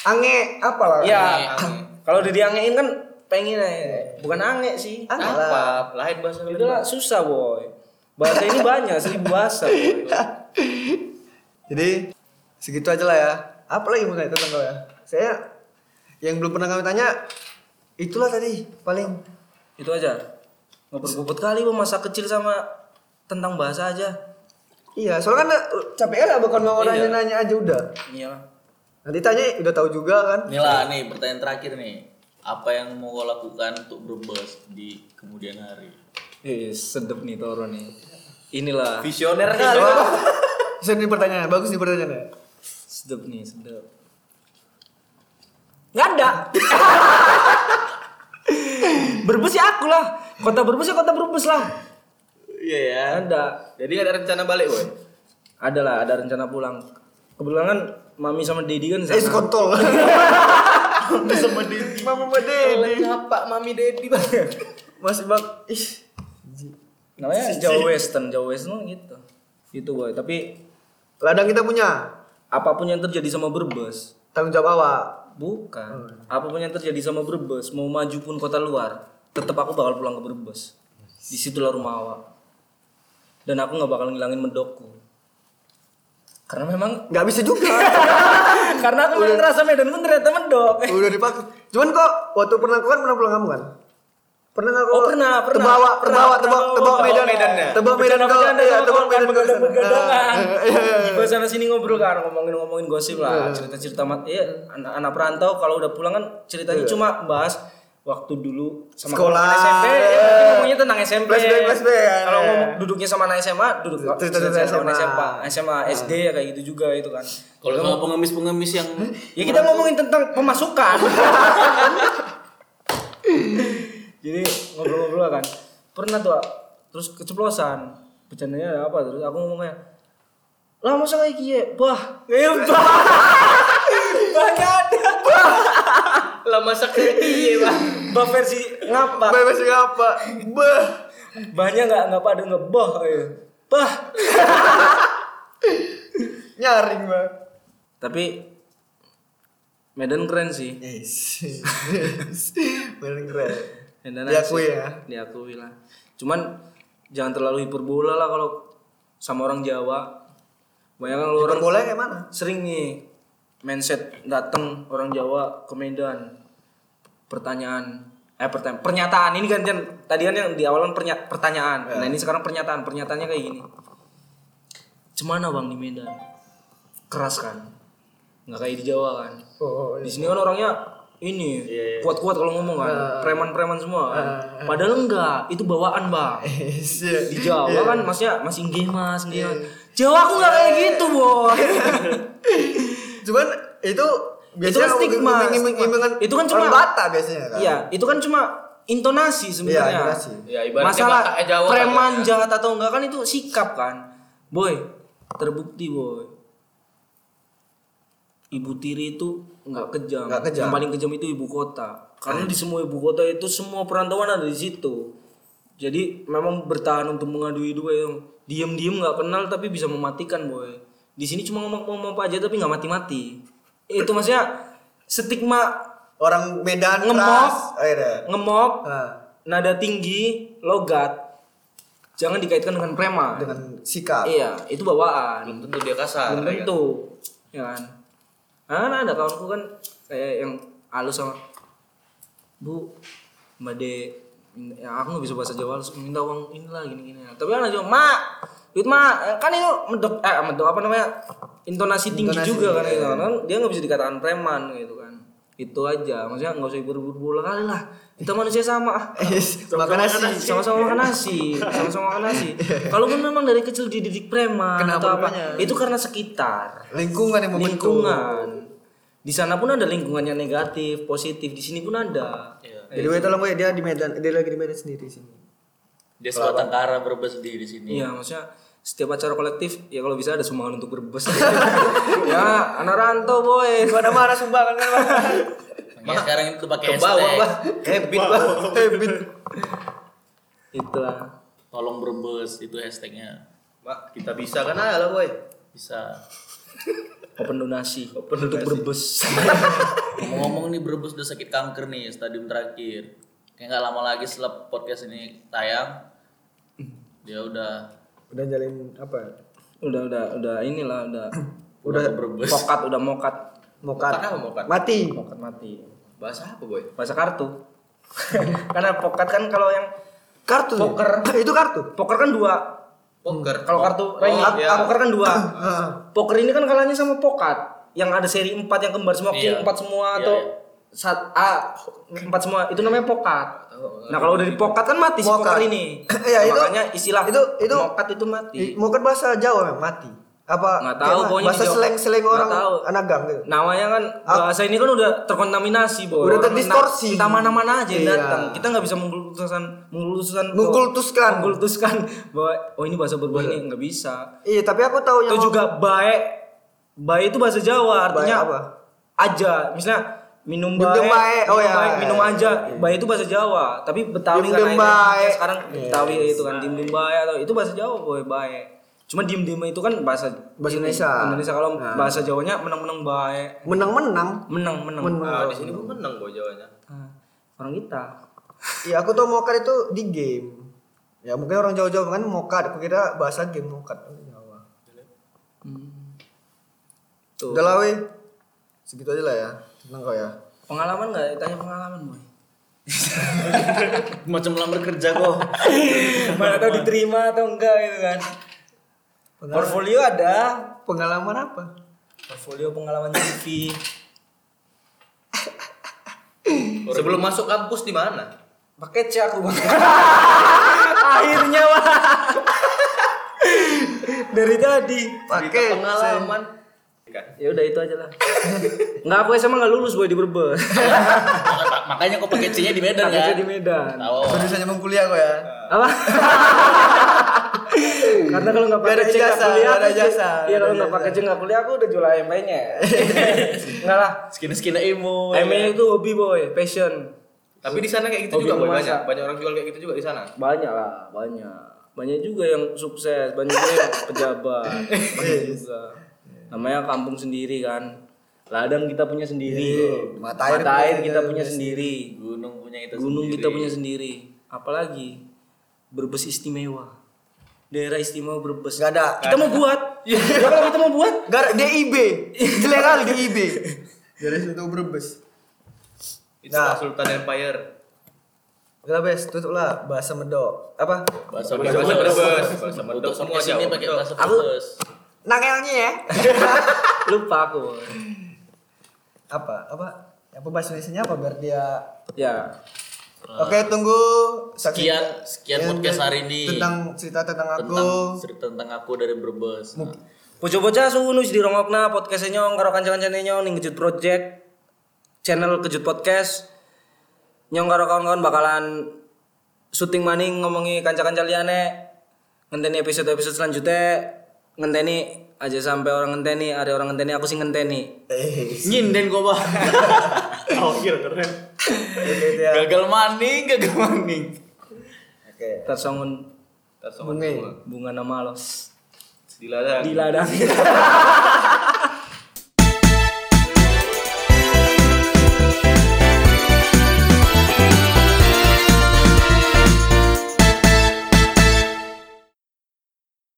Speaker 2: Ange apa lah?
Speaker 1: ya
Speaker 4: Ange.
Speaker 1: kalau udah diangein kan pengen ya bukan ange sih
Speaker 2: Ah?
Speaker 4: Nah, Apa? Lain bahasa
Speaker 1: itu lah susah boy bahasa ini banyak seribu bahasa boy
Speaker 2: Jadi segitu aja lah ya. Apa lagi mau tanya tentang kau ya? Saya yang belum pernah kami tanya itulah tadi paling
Speaker 1: itu aja nggak berbobot kali bu masa kecil sama tentang bahasa aja
Speaker 2: iya soalnya kan uh, capek lah bukan mau
Speaker 1: Iya.
Speaker 2: nanya nanya aja udah
Speaker 1: iyalah
Speaker 2: nanti tanya udah tahu juga kan
Speaker 3: Nih lah nih pertanyaan terakhir nih. Apa yang mau kau lakukan untuk berbes di kemudian hari?
Speaker 1: eh sedep nih toro nih inilah
Speaker 4: Visioner nih.
Speaker 2: Nah,
Speaker 1: Iya.
Speaker 4: Bang.
Speaker 2: Bisa nih pertanyaan, bagus nih pertanyaannya.
Speaker 1: sedep nih sedep nggak ada berbes ya aku lah kota berbes ya kota berbes lah
Speaker 4: Iya ya.
Speaker 1: ada
Speaker 4: Jadi ada rencana balik, Boy.
Speaker 1: ada lah ada rencana pulang kebetulan kan mami sama dedi kan di
Speaker 2: Eh,
Speaker 1: sana.
Speaker 2: skontol. Sama Dedi. Mama sama Dedi.
Speaker 4: Pak Mami Dedi, Bang.
Speaker 2: Masih bak, ih.
Speaker 1: namanya jauh western jauh western gitu gitu boy tapi
Speaker 2: Ladang kita punya.
Speaker 1: apapun yang terjadi sama berbes
Speaker 2: Tanggung jawab awak.
Speaker 1: bukan apapun yang terjadi sama berbes mau maju pun kota luar tetap aku bakal pulang ke berbes disitulah rumah awak dan aku nggak bakal ngilangin medokku karena memang
Speaker 2: Gak bisa juga.
Speaker 1: karena aku memang ngerasa Medan pun ternyata mendok
Speaker 2: Udah dipakai. Cuman kok waktu pernah kau kan pernah pulang kamu kan? Pernah nggak kau?
Speaker 1: Oh, pernah, pernah.
Speaker 2: Terbawa,
Speaker 1: Pernah, Oh, pernah
Speaker 2: terbawa, terbawa,
Speaker 1: bawa-
Speaker 2: terbawa
Speaker 1: bawa
Speaker 2: Medan.
Speaker 4: Medan ya?
Speaker 2: Terbawa Medan kau. Iya, terbawa Medan kau. ke sana.
Speaker 1: begadongan
Speaker 2: Ah, iya, iya.
Speaker 1: di sana sini ngobrol kan ngomongin ngomongin gosip lah cerita cerita mat iya anak-anak perantau kalau udah pulang kan ceritanya cuma bahas waktu dulu sama
Speaker 2: Iya. Sekolah. Iya.
Speaker 1: kawan-kawan SMP ya, mungkin ngomongnya tentang SMP
Speaker 2: Flashback, flashback, ya.
Speaker 1: kalau ngomong duduknya sama anak SMA duduk
Speaker 2: Cerita-cerita
Speaker 1: sama anak
Speaker 2: SMA.
Speaker 1: SMA SMA SD ya kayak gitu juga itu kan
Speaker 3: Kalau sama pengemis-pengemis yang
Speaker 1: Ya kita ngomongin tentang pemasukan. Jadi ngobrol-ngobrol kan. Pernah tuh Ak. terus keceplosan. Bercandanya ada apa terus aku ngomongnya lah masa kayak kie bah eh bah bah nggak ada
Speaker 4: Lah masak iya, Bang.
Speaker 1: bah versi ngapa
Speaker 2: Bah, masih apa? Bah.
Speaker 1: bahnya nggak nggak pada ngebah eh. bah
Speaker 2: Nyaring, bah.
Speaker 1: tapi Medan keren sih
Speaker 2: Yes. Medan keren.
Speaker 1: Medan
Speaker 2: Diakui
Speaker 1: asik.
Speaker 2: ya.
Speaker 1: diakui lah cuman jangan terlalu hiperbola lah kalau sama orang Jawa banyak kan kalau orang
Speaker 2: Perbola kayak mana?
Speaker 1: sering nih mindset datang orang Jawa ke Medan pertanyaan eh pertanyaan pernyataan ini kan Jan, tadi kan yang di awal kan pernya- pertanyaan nah ini sekarang pernyataan pernyataannya kayak gini cemana bang di Medan keras kan nggak kayak di Jawa kan
Speaker 2: Oh, oh,
Speaker 1: iya. di sini kan orangnya ini
Speaker 5: Iya, iya.
Speaker 1: kuat-kuat kalau ngomong kan preman-preman semua kan. padahal enggak itu bawaan bang di
Speaker 6: Iya.
Speaker 1: Jawa
Speaker 5: Iya.
Speaker 1: kan maksudnya masih nggih mas nggih Mas. Jawa aku nggak kayak gitu boy
Speaker 6: Cuman itu biasanya
Speaker 1: kan stigma,
Speaker 6: ngiming- ngiming-
Speaker 1: stigma.
Speaker 6: ngimingan
Speaker 1: Itu kan
Speaker 6: orang
Speaker 1: cuma-
Speaker 6: Bata biasanya kan.
Speaker 1: iya itu kan cuma intonasi sebenarnya
Speaker 6: Iya, intonasi.
Speaker 3: Ya, ibaratnya
Speaker 1: masalah
Speaker 3: Batak eh, Jawa kan,
Speaker 1: preman
Speaker 3: ya.
Speaker 1: jahat atau enggak kan itu sikap kan boy terbukti boy ibu tiri itu nggak kejam.
Speaker 6: Nggak kejam. Iya.
Speaker 1: yang paling kejam itu ibu kota karena di semua ibu kota itu semua perantauan ada di situ jadi memang bertahan untuk mengadui dua yang diem-diem nggak kenal tapi bisa mematikan boy di sini cuma ngomong-ngomong apa aja tapi nggak mati-mati Eh, itu maksudnya stigma
Speaker 6: Orang Medan
Speaker 1: Ngemok.
Speaker 6: keras. Akhirnya.
Speaker 1: ngemop
Speaker 6: Nah,
Speaker 1: nada tinggi, logat, jangan dikaitkan dengan preman.
Speaker 6: dengan sikap.
Speaker 1: Iya, itu bawaan.
Speaker 3: belum tentu dia kasar
Speaker 1: Belum
Speaker 3: ya kan?
Speaker 1: tentu, ya kan? Nah, ada kawanku kan kayak yang halus sama Bu, Mbak De, min- ya, aku nggak bisa bahasa Jawa, harus minta uang inilah gini-gini. Tapi kan aja, Mak, duit Mak, kan itu medok, eh medok apa namanya? Intonasi tinggi
Speaker 6: Intonasi,
Speaker 1: juga kan,
Speaker 6: iya.
Speaker 1: gitu kan. kan dia nggak bisa dikatakan preman gitu kan. Itu aja, maksudnya nggak usah berburu-buru kali lah. Kita manusia sama. ah.
Speaker 6: Makan nasi.
Speaker 1: sama-sama makan nasi sama-sama makan nasi kalau memang dari kecil dididik preman
Speaker 6: Kenapa
Speaker 1: atau apa
Speaker 6: namanya?
Speaker 1: itu karena sekitar
Speaker 6: Lingkungan yang membentuk.
Speaker 1: lingkungan di sana pun ada lingkungannya negatif positif di sini pun ada
Speaker 6: Iya.
Speaker 2: Jadi
Speaker 1: Iya.
Speaker 2: gue tolong gue dia di Medan, dia lagi di Medan sendiri sini.
Speaker 3: dia suka tangkara berbes di di sini
Speaker 1: iya maksudnya setiap acara kolektif ya kalau bisa ada sumbangan untuk berbes ya anak rantau
Speaker 4: ya.
Speaker 1: boy
Speaker 6: Gak ada marah sumpah kan kan.
Speaker 3: makanya sekarang itu pakai
Speaker 4: Ke bawah,
Speaker 3: hashtag
Speaker 4: Bah. Habit, Bah. Habit.
Speaker 1: itulah
Speaker 3: tolong berbes itu hashtagnya
Speaker 4: Mak, kita bisa kan ah lah, boy.
Speaker 3: bisa
Speaker 1: open donasi untuk berbes
Speaker 3: ngomong-ngomong nih berbes udah sakit kanker nih stadium terakhir kayak nggak lama lagi setelah podcast ini tayang dia udah
Speaker 2: Udah jalin apa?
Speaker 1: udah udah udah inilah udah
Speaker 3: udah berbes
Speaker 1: mokat udah mokat
Speaker 2: Mokat.
Speaker 4: Kan apa mau kan?
Speaker 2: Mati.
Speaker 1: mokat mati
Speaker 4: Bahasa apa, boy?
Speaker 1: bahasa kartu karena pokat kan kalau yang
Speaker 6: Kartu.
Speaker 1: Poker.
Speaker 6: Itu kartu.
Speaker 1: poker kan dua
Speaker 4: Poker.
Speaker 1: kalau kartu remi
Speaker 4: Oh, iya.
Speaker 1: poker kan dua poker ini kan kalahnya sama pokat yang ada seri 4 yang kembar semua king
Speaker 3: Iya.
Speaker 1: empat semua
Speaker 3: Iya,
Speaker 1: atau
Speaker 3: iya.
Speaker 1: sat a empat semua itu namanya pokat nah kalau dari pokat kan mati si
Speaker 6: Mokat.
Speaker 1: poker ini
Speaker 6: Iya, itu-
Speaker 1: makanya istilah itu,
Speaker 6: itu- itu-
Speaker 1: mokat itu mati
Speaker 6: Mau kan bahasa Jawa memang mati. Apa?
Speaker 1: Nggak tahu,
Speaker 6: kayak
Speaker 1: pokoknya
Speaker 6: bahasa
Speaker 1: di Jawa.
Speaker 6: seleng-seleng
Speaker 1: Nggak
Speaker 6: orang
Speaker 1: tahu.
Speaker 6: anak gang gitu.
Speaker 1: namanya kan bahasa ini kan udah terkontaminasi boy
Speaker 6: Udah
Speaker 1: Orang
Speaker 6: terdistorsi.
Speaker 1: entah mana-mana aja yang
Speaker 6: Iya.
Speaker 1: datang kita nggak bisa mengkultuskan mengkultuskan
Speaker 6: Mengkultuskan.
Speaker 1: mengkultuskan Kan, bahwa oh ini bahasa berbahasa ini nggak bisa
Speaker 6: Iya, tapi aku tahu yang
Speaker 1: itu juga baik baik itu bahasa Jawa artinya
Speaker 6: Baik apa?
Speaker 1: aja misalnya minum
Speaker 6: Minum
Speaker 1: baik
Speaker 6: baik, oh ya,
Speaker 1: minum baik,
Speaker 6: ya, ya.
Speaker 1: minum
Speaker 6: Iya,
Speaker 1: aja baik itu bahasa Jawa tapi Betawi
Speaker 6: Diem
Speaker 1: kan
Speaker 6: diem
Speaker 1: akhirnya
Speaker 6: baik.
Speaker 1: sekarang Betawi itu kan dim dim baik atau itu bahasa Jawa boy baik cuma dim dim itu kan bahasa
Speaker 6: Bahasa
Speaker 1: ini,
Speaker 6: Indonesia. Nah.
Speaker 1: Indonesia kalau bahasa Jawanya menang menang baik
Speaker 6: menang-menang.
Speaker 1: menang menang
Speaker 4: Ah, di sini pun menang, boy, jawanya.
Speaker 1: Ah, orang kita
Speaker 6: Iya, aku tahu mokat itu di game. Ya mungkin orang jauh-jauh kan mokat. Aku kira bahasa game mokat orang Jawa.
Speaker 1: Hmm. tuh
Speaker 6: Udah lah weh. Segitu aja lah ya. Tenang kau ya.
Speaker 1: pengalaman nggak tanya pengalaman boy
Speaker 3: macam lamar kerja kok
Speaker 1: mana tahu diterima atau enggak gitu kan portfolio ada
Speaker 6: Pengalaman apa?
Speaker 1: portfolio pengalaman CV
Speaker 4: Sebelum masuk kampus di mana?
Speaker 1: pakai C aku Bang. akhirnya wah dari tadi
Speaker 4: Cerita pengalaman. Kan.
Speaker 1: ya udah itu aja lah nggak aku SMA nggak lulus boy di Brebes
Speaker 3: Maka- makanya kok pakai C-nya di Medan
Speaker 1: Pakai C
Speaker 6: ya?
Speaker 3: kan
Speaker 1: di Medan
Speaker 3: tahu
Speaker 6: Bisa nyambung kuliah kau ya.
Speaker 1: apa karena kalau nggak
Speaker 6: Nggak ada
Speaker 1: pakai C nggak
Speaker 6: ijazah,
Speaker 1: kuliah
Speaker 6: nggak ada
Speaker 1: aku-
Speaker 6: ijazah,
Speaker 1: iya
Speaker 6: nggak
Speaker 1: kalau
Speaker 6: ada
Speaker 1: nggak pakai C nggak kuliah aku udah jual ayam nya nggak lah
Speaker 3: skin skin emo ya kan?
Speaker 1: ayam itu hobi boy passion
Speaker 4: Tapi di sana kayak gitu
Speaker 1: Hobi
Speaker 4: juga boy,
Speaker 1: memasak.
Speaker 4: banyak. Banyak orang jual kayak gitu juga di sana.
Speaker 1: banyak lah banyak banyak juga yang sukses banyak juga yang pejabat banyak
Speaker 6: Iya.
Speaker 1: juga namanya kampung sendiri kan ladang kita punya sendiri
Speaker 6: Iya, Mata air
Speaker 1: mata air
Speaker 6: punya
Speaker 1: kita
Speaker 6: kita
Speaker 1: punya sendiri
Speaker 3: gunung punya itu
Speaker 1: gunung
Speaker 3: sendiri.
Speaker 1: kita punya sendiri apalagi berbes istimewa daerah istimewa berbes
Speaker 6: Gak ada.
Speaker 1: kita mau buat ya kalau kita mau buat
Speaker 6: Gak ada DIB. Jelek kali DIB. Dari situ Brebes.
Speaker 4: Itu Sultan Empire.
Speaker 6: Udah lah, bes, tutup lah bahasa medok. Apa?
Speaker 3: bahasa Brebes.
Speaker 4: Bahasa Brebes.
Speaker 3: bahasa
Speaker 4: Bahasa Brebes.
Speaker 3: Brebes.
Speaker 4: Semua
Speaker 3: podcast ini
Speaker 4: Jawa,
Speaker 3: pakai
Speaker 4: betul.
Speaker 3: bahasa Brebes
Speaker 6: Nangelnya ya.
Speaker 1: lupa aku
Speaker 6: apa? Apa? Apa bahasa Indonesia apa biar dia
Speaker 1: Ya,
Speaker 6: Oke, tunggu saksi-
Speaker 3: Sekian sekian
Speaker 6: yang-
Speaker 3: podcast hari ini
Speaker 6: tentang cerita tentang aku.
Speaker 3: tentang cerita tentang aku dari Brebes. Nah,
Speaker 1: Bocah-bocah sunus di rongokna podcast nyong karo kancan-kancan nyong ning kejut project channel kejut podcast nyong karo kawan-kawan bakalan syuting maning ngomongi kanca-kanca liane ngenteni episode-episode selanjutnya ngenteni aja sampai orang ngenteni ada orang ngenteni aku sih ngenteni
Speaker 3: Nyinden kok, Bang.
Speaker 5: Oh, gila keren.
Speaker 2: Iya.
Speaker 3: Gagal maning, gagal maning.
Speaker 1: tersongun
Speaker 4: Bunga.
Speaker 1: bunga nama lo
Speaker 4: Di ladang.
Speaker 1: di ladang